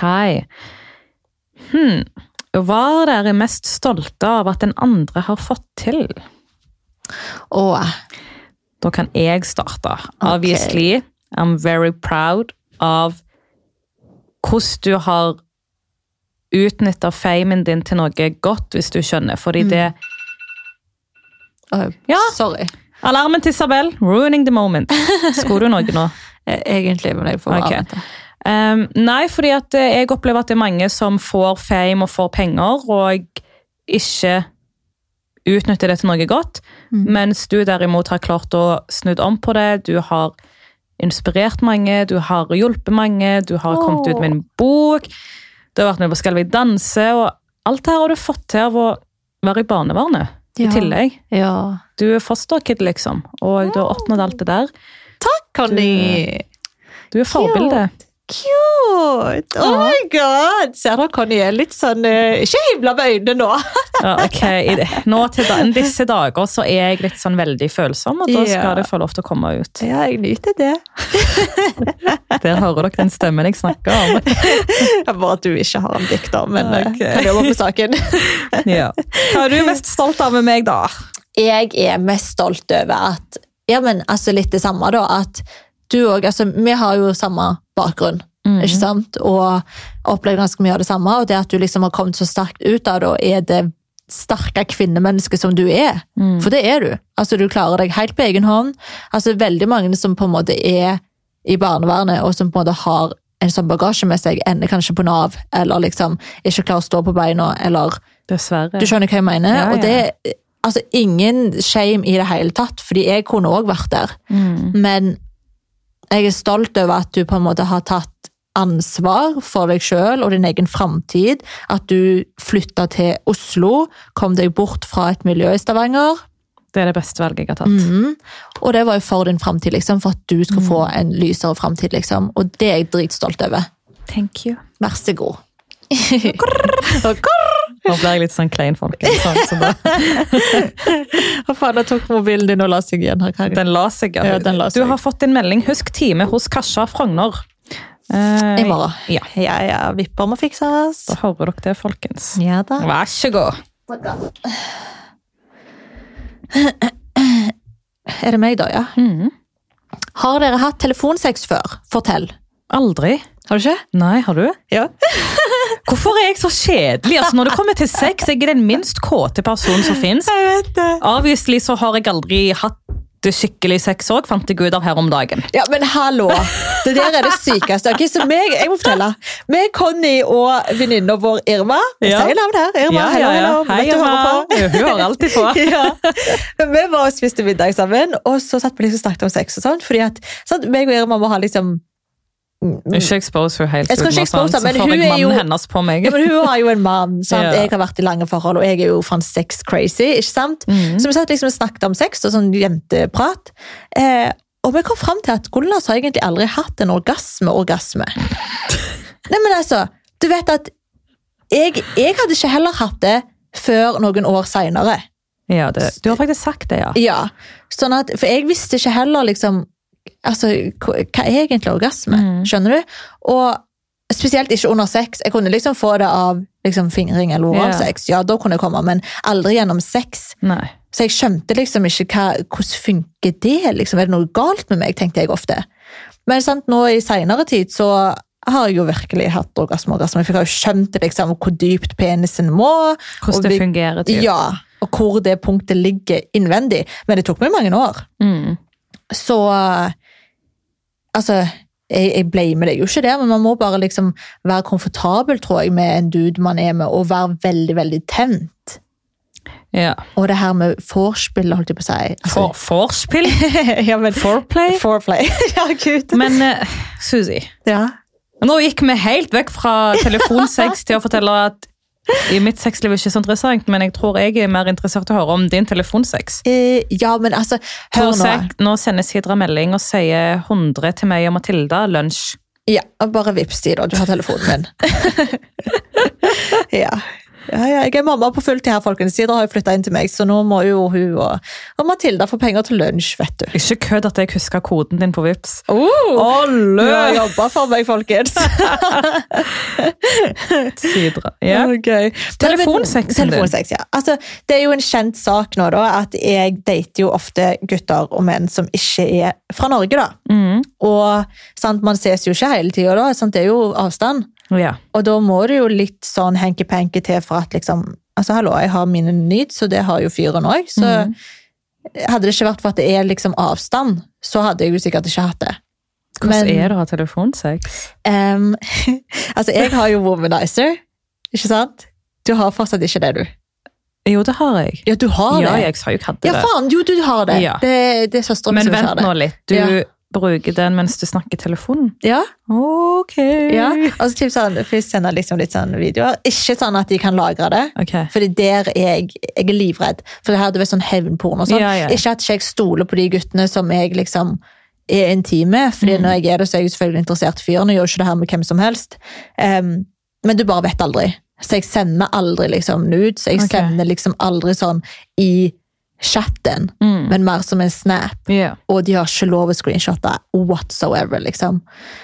Hmm. Hva er dere mest stolte av at den andre har fått til?
Og
Da kan jeg starte. Obviously, I'm very proud av hvordan du har utnytta famen din til noe godt, hvis du skjønner. Fordi det
Oi,
Ja.
eh, Sorry.
Alarmen til Isabel! Ruining the moment. Skulle du noe nå?
Eh, Egentlig, men jeg får
Ok.
bare vente.
Um, nei, fordi at eh, jeg opplever at det er mange som får fame og får penger, og ikke utnytter det til noe godt. Mens du derimot har klart å snudd om på det. Du har inspirert mange, du har hjulpet mange, du har kommet ut med en bok. Du har vært med på Skal vi danse, og alt det her har du fått til av å være i barnevernet
Ja.
i tillegg.
Ja.
Du er fosterkid, liksom, og du har oppnådd alt det der.
Conny!
Du er forbilde.
Cute! Oh my god! Ser dere Conny er litt sånn eh, Ikke himla med øynene nå!
Ja, ok. I det- Nå til da, disse dager så er jeg litt sånn veldig følsom, og da
Ja.
skal det få lov til å komme ut.
Ja, jeg nyter det.
Der hører dere den stemmen jeg snakker om.
Jeg bare at du ikke har en dikter, men eh,
Ok.
kan jobbe med saken.
[LAUGHS] Ja. Hva er du mest stolt av med meg, da?
[LAUGHS] jeg er mest stolt over at ja, men altså litt det samme da, at du og, altså vi har jo samme bakgrunn,
Mhm.
ikke sant? Og opplevd ganske mye av det samme, og det at du liksom har kommet så sterkt ut av det, og er det sterke kvinnemennesket som du er. For det er du. Altså du klarer deg helt på egen hånd. Altså veldig mange som på en måte er i barnevernet, og som på en måte har en sånn bagasje med seg, ender kanskje på NAV, eller liksom ikke klarer å stå på beina, eller
Dessverre.
du skjønner hva jeg mener?
Ja, ja.
Og det altså ingen shame i det hele tatt, fordi jeg kunne òg vært der.
Mm.
Men jeg er stolt over at du på en måte har tatt ansvar for deg sjøl og din egen framtid. At du flytta til Oslo, kom deg bort fra et miljø i Stavanger.
Det er det beste valget jeg har tatt.
Mhm. Og det var jo for din framtid, liksom, for at du skulle få en lysere framtid. Liksom. Og det er jeg dritstolt over.
Thank you.
Vær så god. Og grrr.
Nå blir jeg litt sånn klein, folkens. Sånn, så da,
[LAUGHS] Hva faen, da tok mobilen din og la seg igjen her, Kari.
den la seg.
Ja, den la seg.
Du har fått din melding. Husk time hos Kasja Frogner. Eh,
I morgen.
Ja.
Ja, ja, vipper må fikses.
Da hører dere det, folkens.
Ja da.
Vær så god.
Er det meg da, ja?
Mm.
Har dere hatt telefonsex før? Fortell.
Aldri.
Har du ikke?
Nei, har du?
Ja.
Hvorfor er jeg så kjedelig? Altså, når det kommer til sex, jeg er den minst kåte personen som fins.
Jeg vet det.
Avviselig så har jeg aldri hatt det skikkelig sex òg, fant jeg ut av her om dagen.
Ja, men hallo! Det der er det sykeste. Ok, så meg, jeg må fortelle. Meg, Conny og venninna vår Irma Jeg
Ja.
sier navn her. Irma, hello, hello.
Hei,
Vet du
Emma.
hører
[LAUGHS]
på?
Hun hører alltid på.
ja. Men vi var og spiste middag sammen, og så satt vi liksom og snakket om sex. og sånt, fordi at sant, meg og Irma må ha liksom
Ikke expose henne helt.
Jeg skal
uten
ikke
noe sånt,
expose henne,
så
men
får
hun
jeg
er jo-
mannen hennes på meg.
ja, men Hun har jo en mann. sant?
Ja.
Jeg har vært i lange forhold, og jeg er jo faen sex crazy. ikke sant?
Mhm.
Så vi satt liksom og snakket om sex og sånn jenteprat. Eh, og vi kom fram til at Gunnas har egentlig aldri hatt
[LAUGHS]
en orgasme-orgasme. Nei, men altså, du vet at jeg, jeg hadde ikke heller hatt det før noen år seinere.
Ja, det, du har faktisk sagt det, ja.
Ja, sånn at, for jeg visste ikke heller liksom, altså, hva hva er egentlig orgasme,
Mm.
skjønner du? Og spesielt ikke under sex. Jeg kunne liksom få det av liksom, fingring eller
Ja.
oralsex. Ja, da kunne jeg komme, men aldri gjennom sex.
Nei.
Så jeg skjønte liksom ikke hva, hvordan funker det, liksom. Er det noe galt med meg, tenkte jeg ofte. Men sant, nå i senere tid så har jeg jo virkelig hatt orgasme, orgasme. For jeg har jo skjønt liksom hvor dypt penisen må. og
Hvordan det
vi-
fungerer. Typ.
Ja, og hvor det punktet ligger innvendig. Men det tok meg mange år.
Mm.
Så eh, Altså, jeg, jeg blamer deg jo ikke der, men man må bare liksom være komfortabel, tror jeg, med en dude man er med, og være veldig, veldig tent.
ja.
Og det her med vorspiel, holdt jeg på å si.
For, forspill?
ja, men
Foreplay?
[LAUGHS] Foreplay. ja, gud.
Men eh, Susi,
Ja.
nå gikk vi helt vekk fra telefonsex til å fortelle at i mitt sexliv er ikke så interessant, men jeg tror jeg er mer interessert i å høre om din telefonsex.
Eh, ja, men altså, hør
Nå,
nå.
nå sendes Hidra melding og sier 100 til meg og Matilda lunsj.
Ja, bare vips de, da. Du har telefonen min.
[LAUGHS]
ja. Ja, ja, jeg er mamma på fulltid her, folkens. Sidra har jo flytta inn til meg, så nå må jo hun og, og Matilda få penger til lunsj, vet du.
Ikke kødd at jeg husker koden din på Vipps.
Oh, du
Olle!
har jobba for meg, folkens!
Sidra. [LAUGHS]
[LAUGHS]
Ja.
Det var gøy.
Telefonsex,
Men- Telefonsex, ja. Altså, det er jo en kjent sak nå, da, at jeg dater jo ofte gutter og menn som ikke er fra Norge, da.
Mm.
Og sant, man ses jo ikke hele tida, da. Sant? Det er jo avstand.
ja.
Og da må det jo litt sånn hanky-panky til for at liksom Altså, hallo, jeg har mine needs, og det har jo fyren òg, så hadde det ikke vært for at det er liksom avstand, så hadde jeg jo sikkert ikke hatt det.
Hvordan
Men-
er det å ha telefonsex?
Em, [LAUGHS] altså, jeg har jo womanizer, ikke sant? Du har fortsatt ikke det, du.
Jo, det har jeg.
Ja, du har
Ja,
det.
jeg sa jo ikke hadde
ja,
det.
faen, jo, du har det.
Ja.
Det, det er søsteren min
Men
som ikke har
vent
det.
nå litt. Du
Ja.
bruker den mens du snakker i telefonen?
Ja,
Ok.
ja. [LAUGHS] Og så typ sånn, for jeg sender liksom litt sånn videoer. Ikke sånn at de kan lagre det.
Ok.
Fordi der er jeg, jeg er livredd. For det her du vet, sånn hevnporno og sånn.
Ja, ja.
Ikke at ikke jeg stoler på de guttene som jeg liksom er intime.
Mm.
Fordi når jeg er det, så er jeg selvfølgelig interessert i fyren. Jeg gjør ikke det her med hvem som helst. Em, men du bare vet aldri. Så jeg sender aldri liksom nudes. Jeg
Ok.
sender liksom aldri sånn i chatten,
Mm.
men mer som en snap
Ja.
og de har ikke lov å screenshotte whatsoever, liksom.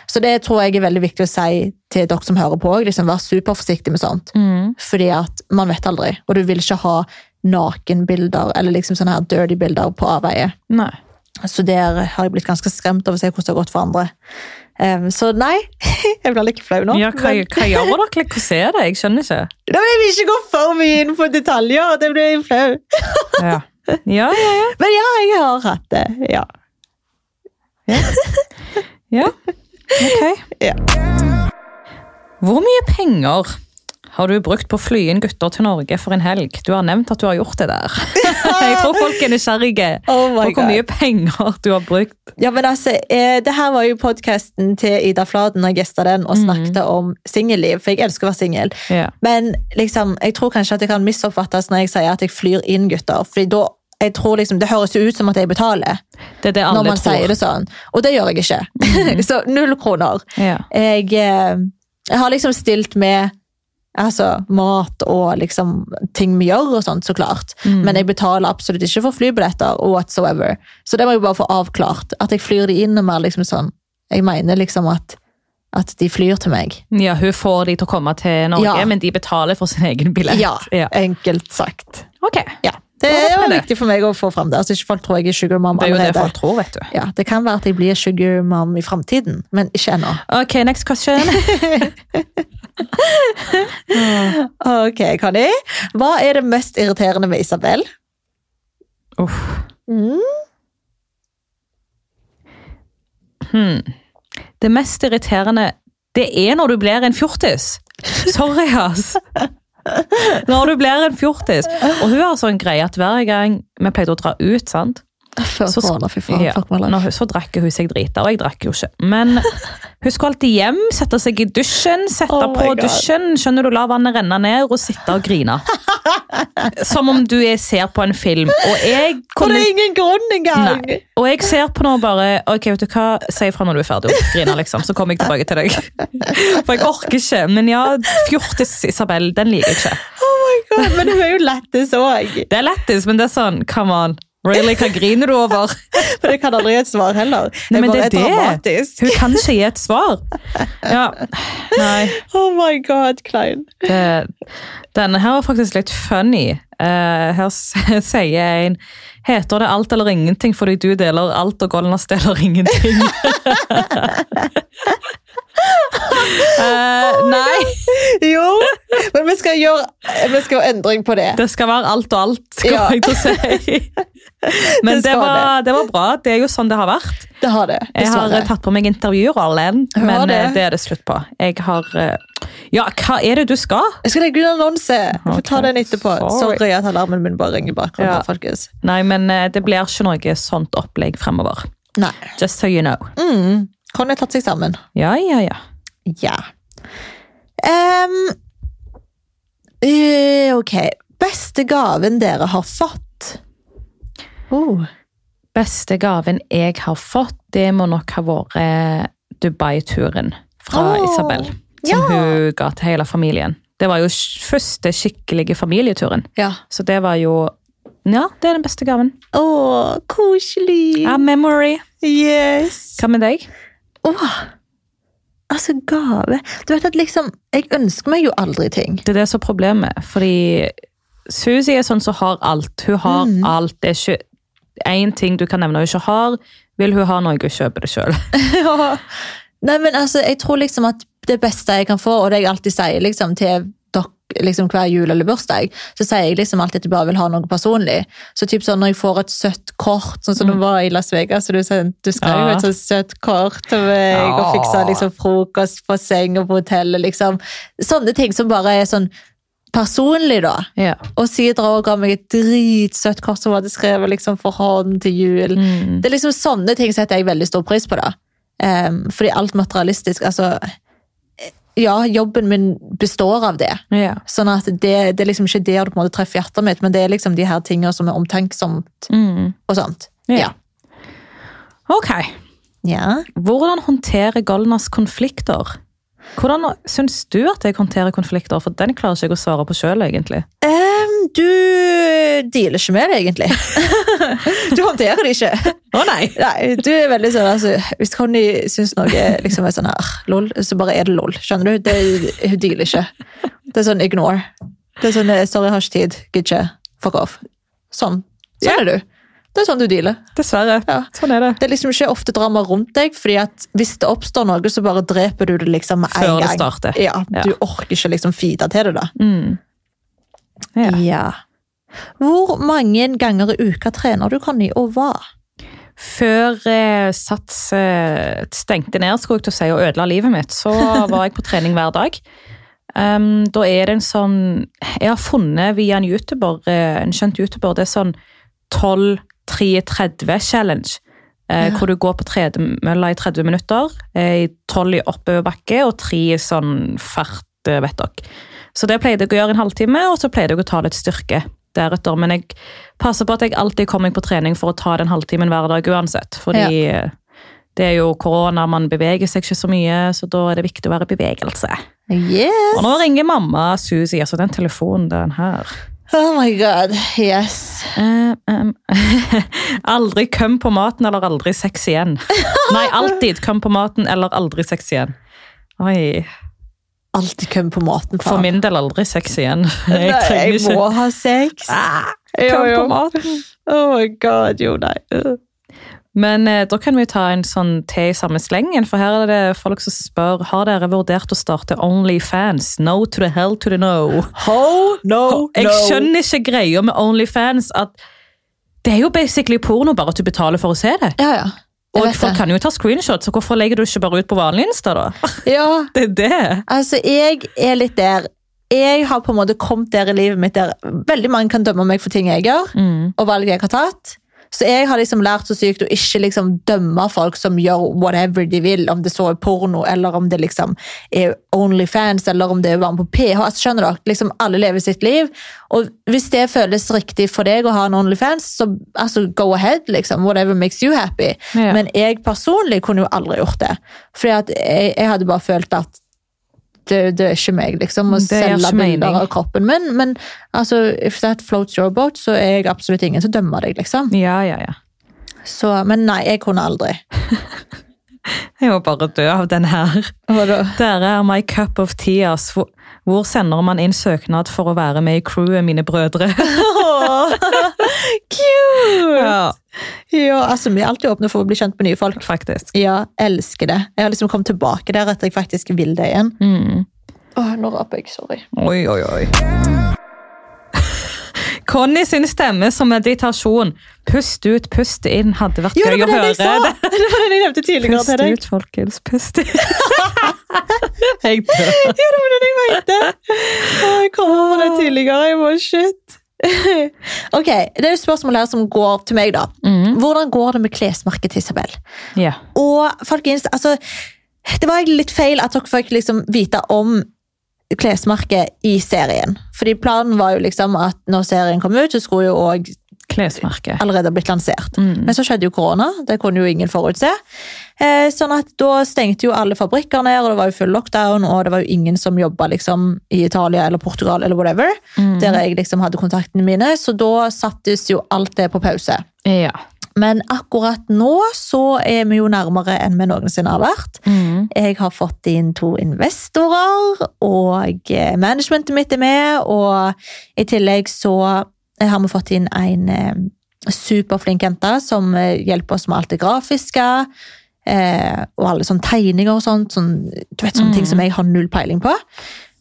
Så det tror jeg er veldig viktig å si til dere som hører på òg. Liksom, vær superforsiktig med sånt.
Mm.
Fordi at man vet aldri, og du vil ikke ha nakenbilder eller liksom sånne her dirty bilder på avveie.
Nei.
Så der har jeg blitt ganske skremt over å se hvordan det har gått for andre. Em, så nei, [LAUGHS] jeg blir like flau nå.
Ja, hva, hva
men,
gjør dere? Like, Hvordan er det? Jeg skjønner ikke.
[LAUGHS] Nei, men jeg vil ikke gå for mye inn på detaljer, det blir jeg flau.
Ja, ja, ja. ja.
Men ja, jeg har hatt det. Ja.
ja. Ok.
Ja.
Hvor mye penger har du brukt på å fly inn gutter til Norge for en helg? Du har nevnt at du har gjort det
[LAUGHS]
der. Jeg tror folk er nysgjerrige
Oh my
på hvor
God.
mye penger du har brukt.
Ja, men altså, eh, det her var jo podcasten til Ida Fladen, og jeg gjestet den
Mhm.
og snakket om singelliv, for jeg elsker å være singel.
Ja.
Men liksom, jeg tror kanskje at det kan misoppfattes når jeg sier at jeg flyr inn gutter, fordi da, jeg tror liksom, det høres jo ut som at jeg betaler,
Det er det
når
alle
man sier
tror. Mm.
det sånn. Og det gjør jeg ikke. [LAUGHS] Så null kroner.
Ja.
Jeg, eh, jeg har liksom stilt med Altså mat og liksom ting vi gjør og sånt, så klart.
Mm.
Men jeg betaler absolutt ikke for flybilletter whatsoever. Så det må jeg bare få avklart. At jeg flyr de inn og mer liksom sånn Jeg mener liksom at, at de flyr til meg.
Ja, hun får de til å komme til Norge,
Ja.
men de betaler for sin egen billett.
Ja, enkelt sagt.
Ok.
Ja. Det
Da vet vi
er
det.
viktig for meg å få fram det. Altså, ikke folk tror jeg er sugar mom
Det er jo det
allerede.
folk tror, vet du.
Ja, det kan være at jeg blir sugar mom i framtiden, men ikke ennå.
Ok, next question.
Ok, Conny. Hva er det mest irriterende med Isabel?
Uff.
Mm.
Hmm. Det mest irriterende, det er når du blir en fjortis. Sorry, ass. Når du blir en fjortis. Og hun har sånn greie at hver gang vi pleide å dra ut, sant?
Før
Så sk-
korona, fy faen.
Ja.
Fuck my life.
Når hun, så drakk hun seg drita, og jeg drakk jo ikke. Men hun skulle alltid hjem, sette seg i dusjen, sette
Oh my
på
God.
dusjen, skjønner du, la vannet renne ned, og sitte og grine. Som om du er, ser på en film. Og jeg
For
kunne
det er ingen grunn engang!
Nei. Og jeg ser på noe bare Ok, vet du hva, si ifra når du er ferdig og griner, liksom. Så kommer jeg tilbake til deg. For jeg orker ikke. Men ja, fjortis Isabel, den liker jeg ikke.
Oh my god, Men hun er jo lættis òg.
Det er lættis, men det er sånn, come on. Really, hva griner du over?
For det kan aldri gi et svar heller.
Nei, men det
bare
er
dramatisk.
Hun kan ikke gi et svar. Ja, nei.
Oh my god, Klein.
Det, Eh, denne her var faktisk litt funny. Eh, her s- [LAUGHS] sier en Heter det alt eller ingenting fordi du deler alt og Golnas deler ingenting? [LAUGHS] Eh, nei,
Jo, men vi skal gjøre vi skal gjøre endring på det.
det skal være alt og alt, kommer
Ja.
jeg til å si.
[LAUGHS]
Men
Det
det
skal
var, det var bra. Det er jo sånn det har vært.
Det har det,
Jeg har eh,
dessverre.
tatt på meg intervjuerrollen,
Hør
men
det.
eh, det er det slutt på. Jeg har eh, Ja, hva er det du skal?
Jeg skal legge ut en annonse. Vi får ta
Ok,
den etterpå.
sorry.
Sorry at alarmen min bare ringer i bakgrunnen.
Ja.
her, folkens.
Nei, men eh, det blir ikke noe sånt opplegg fremover.
Nei.
Just so you know.
Mm. Conny har tatt seg sammen.
Ja, ja, ja.
Ja. Ehm, eh, ok. Beste gaven dere har fått? Oh.
Beste gaven jeg har fått, det må nok ha vært eh, Dubai-turen fra
Åh,
Isabel. Som hun ga til hele familien. Det var jo sk- første skikkelige familieturen.
Ja.
Så det var jo Ja, det er den beste gaven.
Å, koselig.
A memory.
Yes.
Hva med deg?
Åh, altså gave. Du vet at liksom, jeg ønsker meg jo aldri ting.
Det er det som er problemet. Fordi Suzy er sånn som har alt. Hun har alt. Det er ikke én ting du kan nevne hun ikke har. Vil hun ha noe, kjøper det sjøl.
Nei, men altså, jeg tror liksom at det beste jeg kan få, og det jeg alltid sier liksom til dere liksom hver jul eller bursdag, så sier jeg liksom alltid at jeg bare vil ha noe personlig. Så typ sånn når jeg får et søtt kort, sånn som det var i Las Vegas, så du, sendte- du skrev jo
Ja.
et sånt søtt kort til meg, og fiksa liksom frokost på seng og på hotellet, liksom. Sånne ting som bare er sånn personlig da.
Ja.
Og Sidra også ga meg et dritsøtt kort som hun hadde skrevet liksom, for hånd til jul.
Mm.
Det er liksom Sånne ting setter jeg veldig stor pris på. da. Em, fordi alt materialistisk altså, Ja, jobben min består av det.
ja.
Sånn at det, det er liksom ikke der du på en måte treffer hjertet mitt, men det er liksom de her tingene som er omtenksomt
Mm.
og sånt.
Ja.
Ja.
Ok.
Ja.
Hvordan håndterer Golnas konflikter? Hvordan syns du at jeg håndterer konflikter? For den klarer ikke jeg å svare på sjøl, egentlig.
Em, du Ehm, dealer ikke med det, egentlig. [LAUGHS] du håndterer det ikke.
Å nei!
Nei, du er veldig sånn altså, Hvis Conny syns noe liksom er sånn her, lol, så bare er det lol. Skjønner du? Det, hun dealer ikke. Det er sånn ignore. Det er sånn eh, sorry, jeg har ikke tid. Gidder ikke. Fuck off. Sånn. Sånn er du. Det er sånn du dealer.
[LAUGHS] Dessverre.
Ja.
Sånn er det.
Det er liksom ikke ofte drama rundt deg, fordi at hvis det oppstår noe, så bare dreper du det liksom med en
Før det
gang.
starter.
Ja, Du orker ikke liksom feede til det, da.
Mm. Ja.
Hvor mange ganger i uka trener du, Conny, og hva?
Før eh, Sats eh, stengte ned skulle jeg til å si, og ødela livet mitt, så var jeg på trening hver dag. Um, da er det en sånn Jeg har funnet via en YouTuber, eh, en kjent YouTuber, det er sånn 12-3-30-challenge. Eh,
Ja.
Hvor du går på tredemølla i 30 minutter, eh, i 12 i oppoverbakke og 3 i sånn fart, eh, vet dere. Så det pleide jeg å gjøre en halvtime, og så pleide jeg å ta litt styrke deretter. Men jeg passer på at jeg alltid kommer meg på trening for å ta den halvtimen hver dag uansett. Fordi eh, det er jo korona, man beveger seg ikke så mye, så da er det viktig å være i bevegelse.
Yes!
Og nå ringer mamma Susi, altså den telefonen den her.
Oh my god, yes.
Eh, em, [LAUGHS] aldri køm på maten eller aldri sex igjen. Nei, alltid køm på maten eller aldri sex igjen. Oi.
Alltid køm på maten.
For
faen.
min del aldri sex igjen. [LAUGHS]
Nei,
Jeg trenger
jeg
ikke
må ha sex.
Ah,
Jo,
køm
jo.
på maten.
Oh my god, jo, nei. Øh.
Men eh, da kan vi ta en sånn te i samme slengen, for her er det folk som spør har dere vurdert å starte Onlyfans. No to the hell to the no.
Ho, no,
Jeg
no.
skjønner ikke greia med Onlyfans. at Det er jo basically porno, bare at du betaler for å se det.
Ja, ja. Jeg
Og
vet
folk
det.
kan jo ta screenshots, så hvorfor legger du ikke bare ut på vanlig Insta, da? [LAUGHS]
Ja,
Det er det.
altså, jeg er litt der. Jeg har på en måte kommet der i livet mitt der veldig mange kan dømme meg for ting jeg gjør,
Mm.
og valg jeg har tatt. Så jeg har liksom lært så sykt å ikke liksom dømme folk som gjør whatever de vil, om det så er porno, eller om det liksom er Onlyfans, eller om det er å være med på PH. Altså, skjønner dere? Liksom alle lever sitt liv. Og hvis det føles riktig for deg å ha en Onlyfans, så altså, go ahead, liksom. Whatever makes you happy.
Ja.
Men jeg personlig kunne jo aldri gjort det. Fordi at jeg, jeg hadde bare følt at det, det er ikke meg, liksom, å
Det gir
selge
ikke mening.
bilder av kroppen min. Men altså, if that floats your boat, så er jeg absolutt ingen som dømmer deg, liksom.
Ja, ja, ja.
Så, men nei, jeg kunne aldri.
Jeg må bare dø av den her.
Hva da?
Dere er my cup of tears. Hvor- Hvor sender man inn søknad for å være med i crewet, mine brødre?
Cute!
[LAUGHS] ja,
Ja, altså, vi er alltid åpne for å bli kjent med nye folk.
[LAUGHS] faktisk.
Ja, elsker det. Jeg har liksom kommet tilbake der at jeg faktisk vil det igjen.
Mm.
Åh, nå raper jeg, sorry.
Oi, oi, oi. Conny sin stemme som meditasjon. Pust ut, pust inn. Hadde vært
Jo, det
gøy å
var det
høre.
jeg sa!
det.
[LAUGHS] Det var det jeg nevnte tidligere
Pust
til deg.
ut, folkens. Pust inn. [LAUGHS]
Jeg dør. [LAUGHS] Ja, det var det jeg mente. Å, Jeg kom over det tidligere. Jeg var shit. [LAUGHS] Ok, Det er et spørsmål her som går til meg, da.
Mm.
Hvordan går det med klesmerket til Isabel?
Ja.
Og folkens, altså Det var egentlig litt feil at dere fikk liksom vite om klesmerket i serien. Fordi planen var jo liksom at når serien kom ut, så skulle jo òg
Klesmerke.
allerede ha blitt lansert.
Mm.
Men så skjedde jo korona, det kunne jo ingen forutse. Eh, sånn at da stengte jo alle fabrikker ned, og det var jo full lockdown, og det var jo ingen som jobba liksom, i Italia eller Portugal eller whatever,
Mm.
der jeg liksom hadde kontaktene mine, så da sattes jo alt det på pause.
Ja.
Men akkurat nå så er vi jo nærmere enn vi noensinne har vært.
Mm.
Jeg har fått inn to investorer, og eh, managementet mitt er med. Og i tillegg så eh, har vi fått inn en eh, superflink jente som eh, hjelper oss med alt det grafiske. Eh, og alle sånne tegninger og sånt. Sånn, du vet, sånne ting
Mm.
som jeg har null peiling på.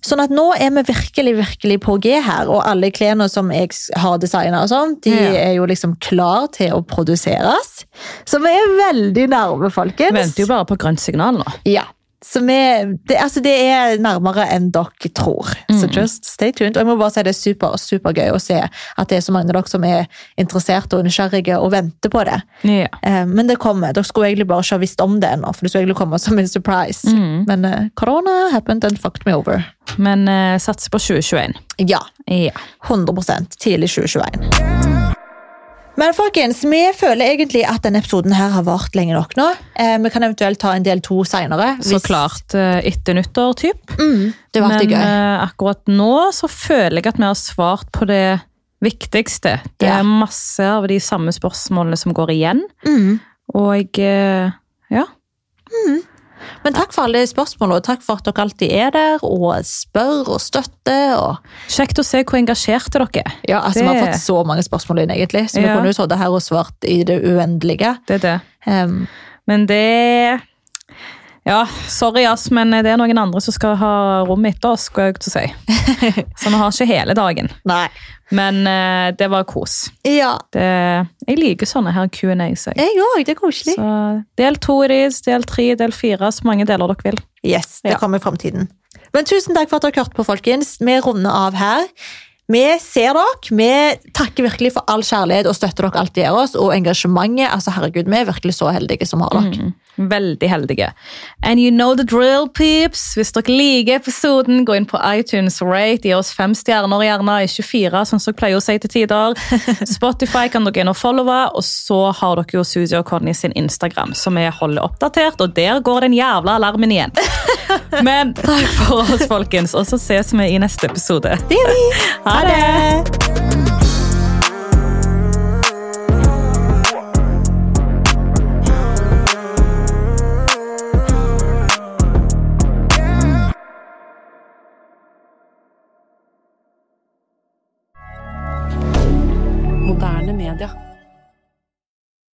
Sånn at nå er vi virkelig virkelig på G her, og alle klærne som jeg s- har designa, de
Ja.
er jo liksom klar til å produseres. Så vi er veldig nærme, folkens.
Venter jo bare på grønt signal nå.
Ja. Så vi, det, altså det er nærmere enn dere tror. Så
Mm.
just stay tuned. Og jeg må bare si det er super, supergøy å se at det er så mange av dere som er interessert og nysgjerrige og venter på det.
Ja.
Eh, men det kommer. Dere skulle egentlig bare ikke ha visst om det ennå. For det skulle egentlig komme som en surprise.
Mm.
Men eh, korona happened and fucked me over.
Men eh, satser på 2021.
Ja.
Ja.
100 tidlig 2021. Men folkens, vi føler egentlig at denne episoden her har vart lenge nok nå. Eh, vi kan eventuelt ta en del to seinere.
Så klart eh, etter nyttår, typ.
Mm, det ble
Men
gøy.
eh, akkurat nå så føler jeg at vi har svart på det viktigste. Det
Ja.
er masse av de samme spørsmålene som går igjen.
Mm.
Og eh, ja.
Men takk for alle spørsmål, og takk for at dere alltid er der og spør og støtter. Og...
Kjekt å se hvor engasjerte dere er.
Ja, altså, Vi har
Det-
fått så mange spørsmål inn, egentlig, så vi
Ja.
kunne jo sittet her og svart i det uendelige.
Det er det.
Ehm,
Men det Ja, sorry, ass, men det er noen andre som skal ha rommet etter oss, skal jeg til å
[LAUGHS]
si. Så vi har ikke hele dagen.
nei.
Men eh, det var kos.
Ja,
Det, jeg liker sånne her Q&A's. jeg.
jeg òg. Det er koselig.
Så del to i this, del tre, del fire, så mange deler dere vil.
Yes, det
Ja.
kommer i framtiden. Men tusen takk for at dere hørte på, folkens. Vi runder av her. Vi ser dere. Vi takker virkelig
Mm.
for all kjærlighet og støtter dere alltid gir oss, og engasjementet. Altså, herregud, vi er virkelig så heldige som har dere.
Veldig heldige. And you know the drill, peeps. Hvis dere liker episoden, gå inn på iTunes rate. Gi oss fem stjerner, gjerne. Ikke fire, sånn som jeg pleier å si til tider. [LAUGHS] Spotify kan dere inn og followe. Og så har dere jo Suzy og Conny sin Instagram, som vi holder oppdatert. Og der går den jævla alarmen igjen. [LAUGHS] Men takk for oss, folkens. Og så ses vi i neste episode. [LAUGHS]
Det gjør vi.
Ha det!
Ha det.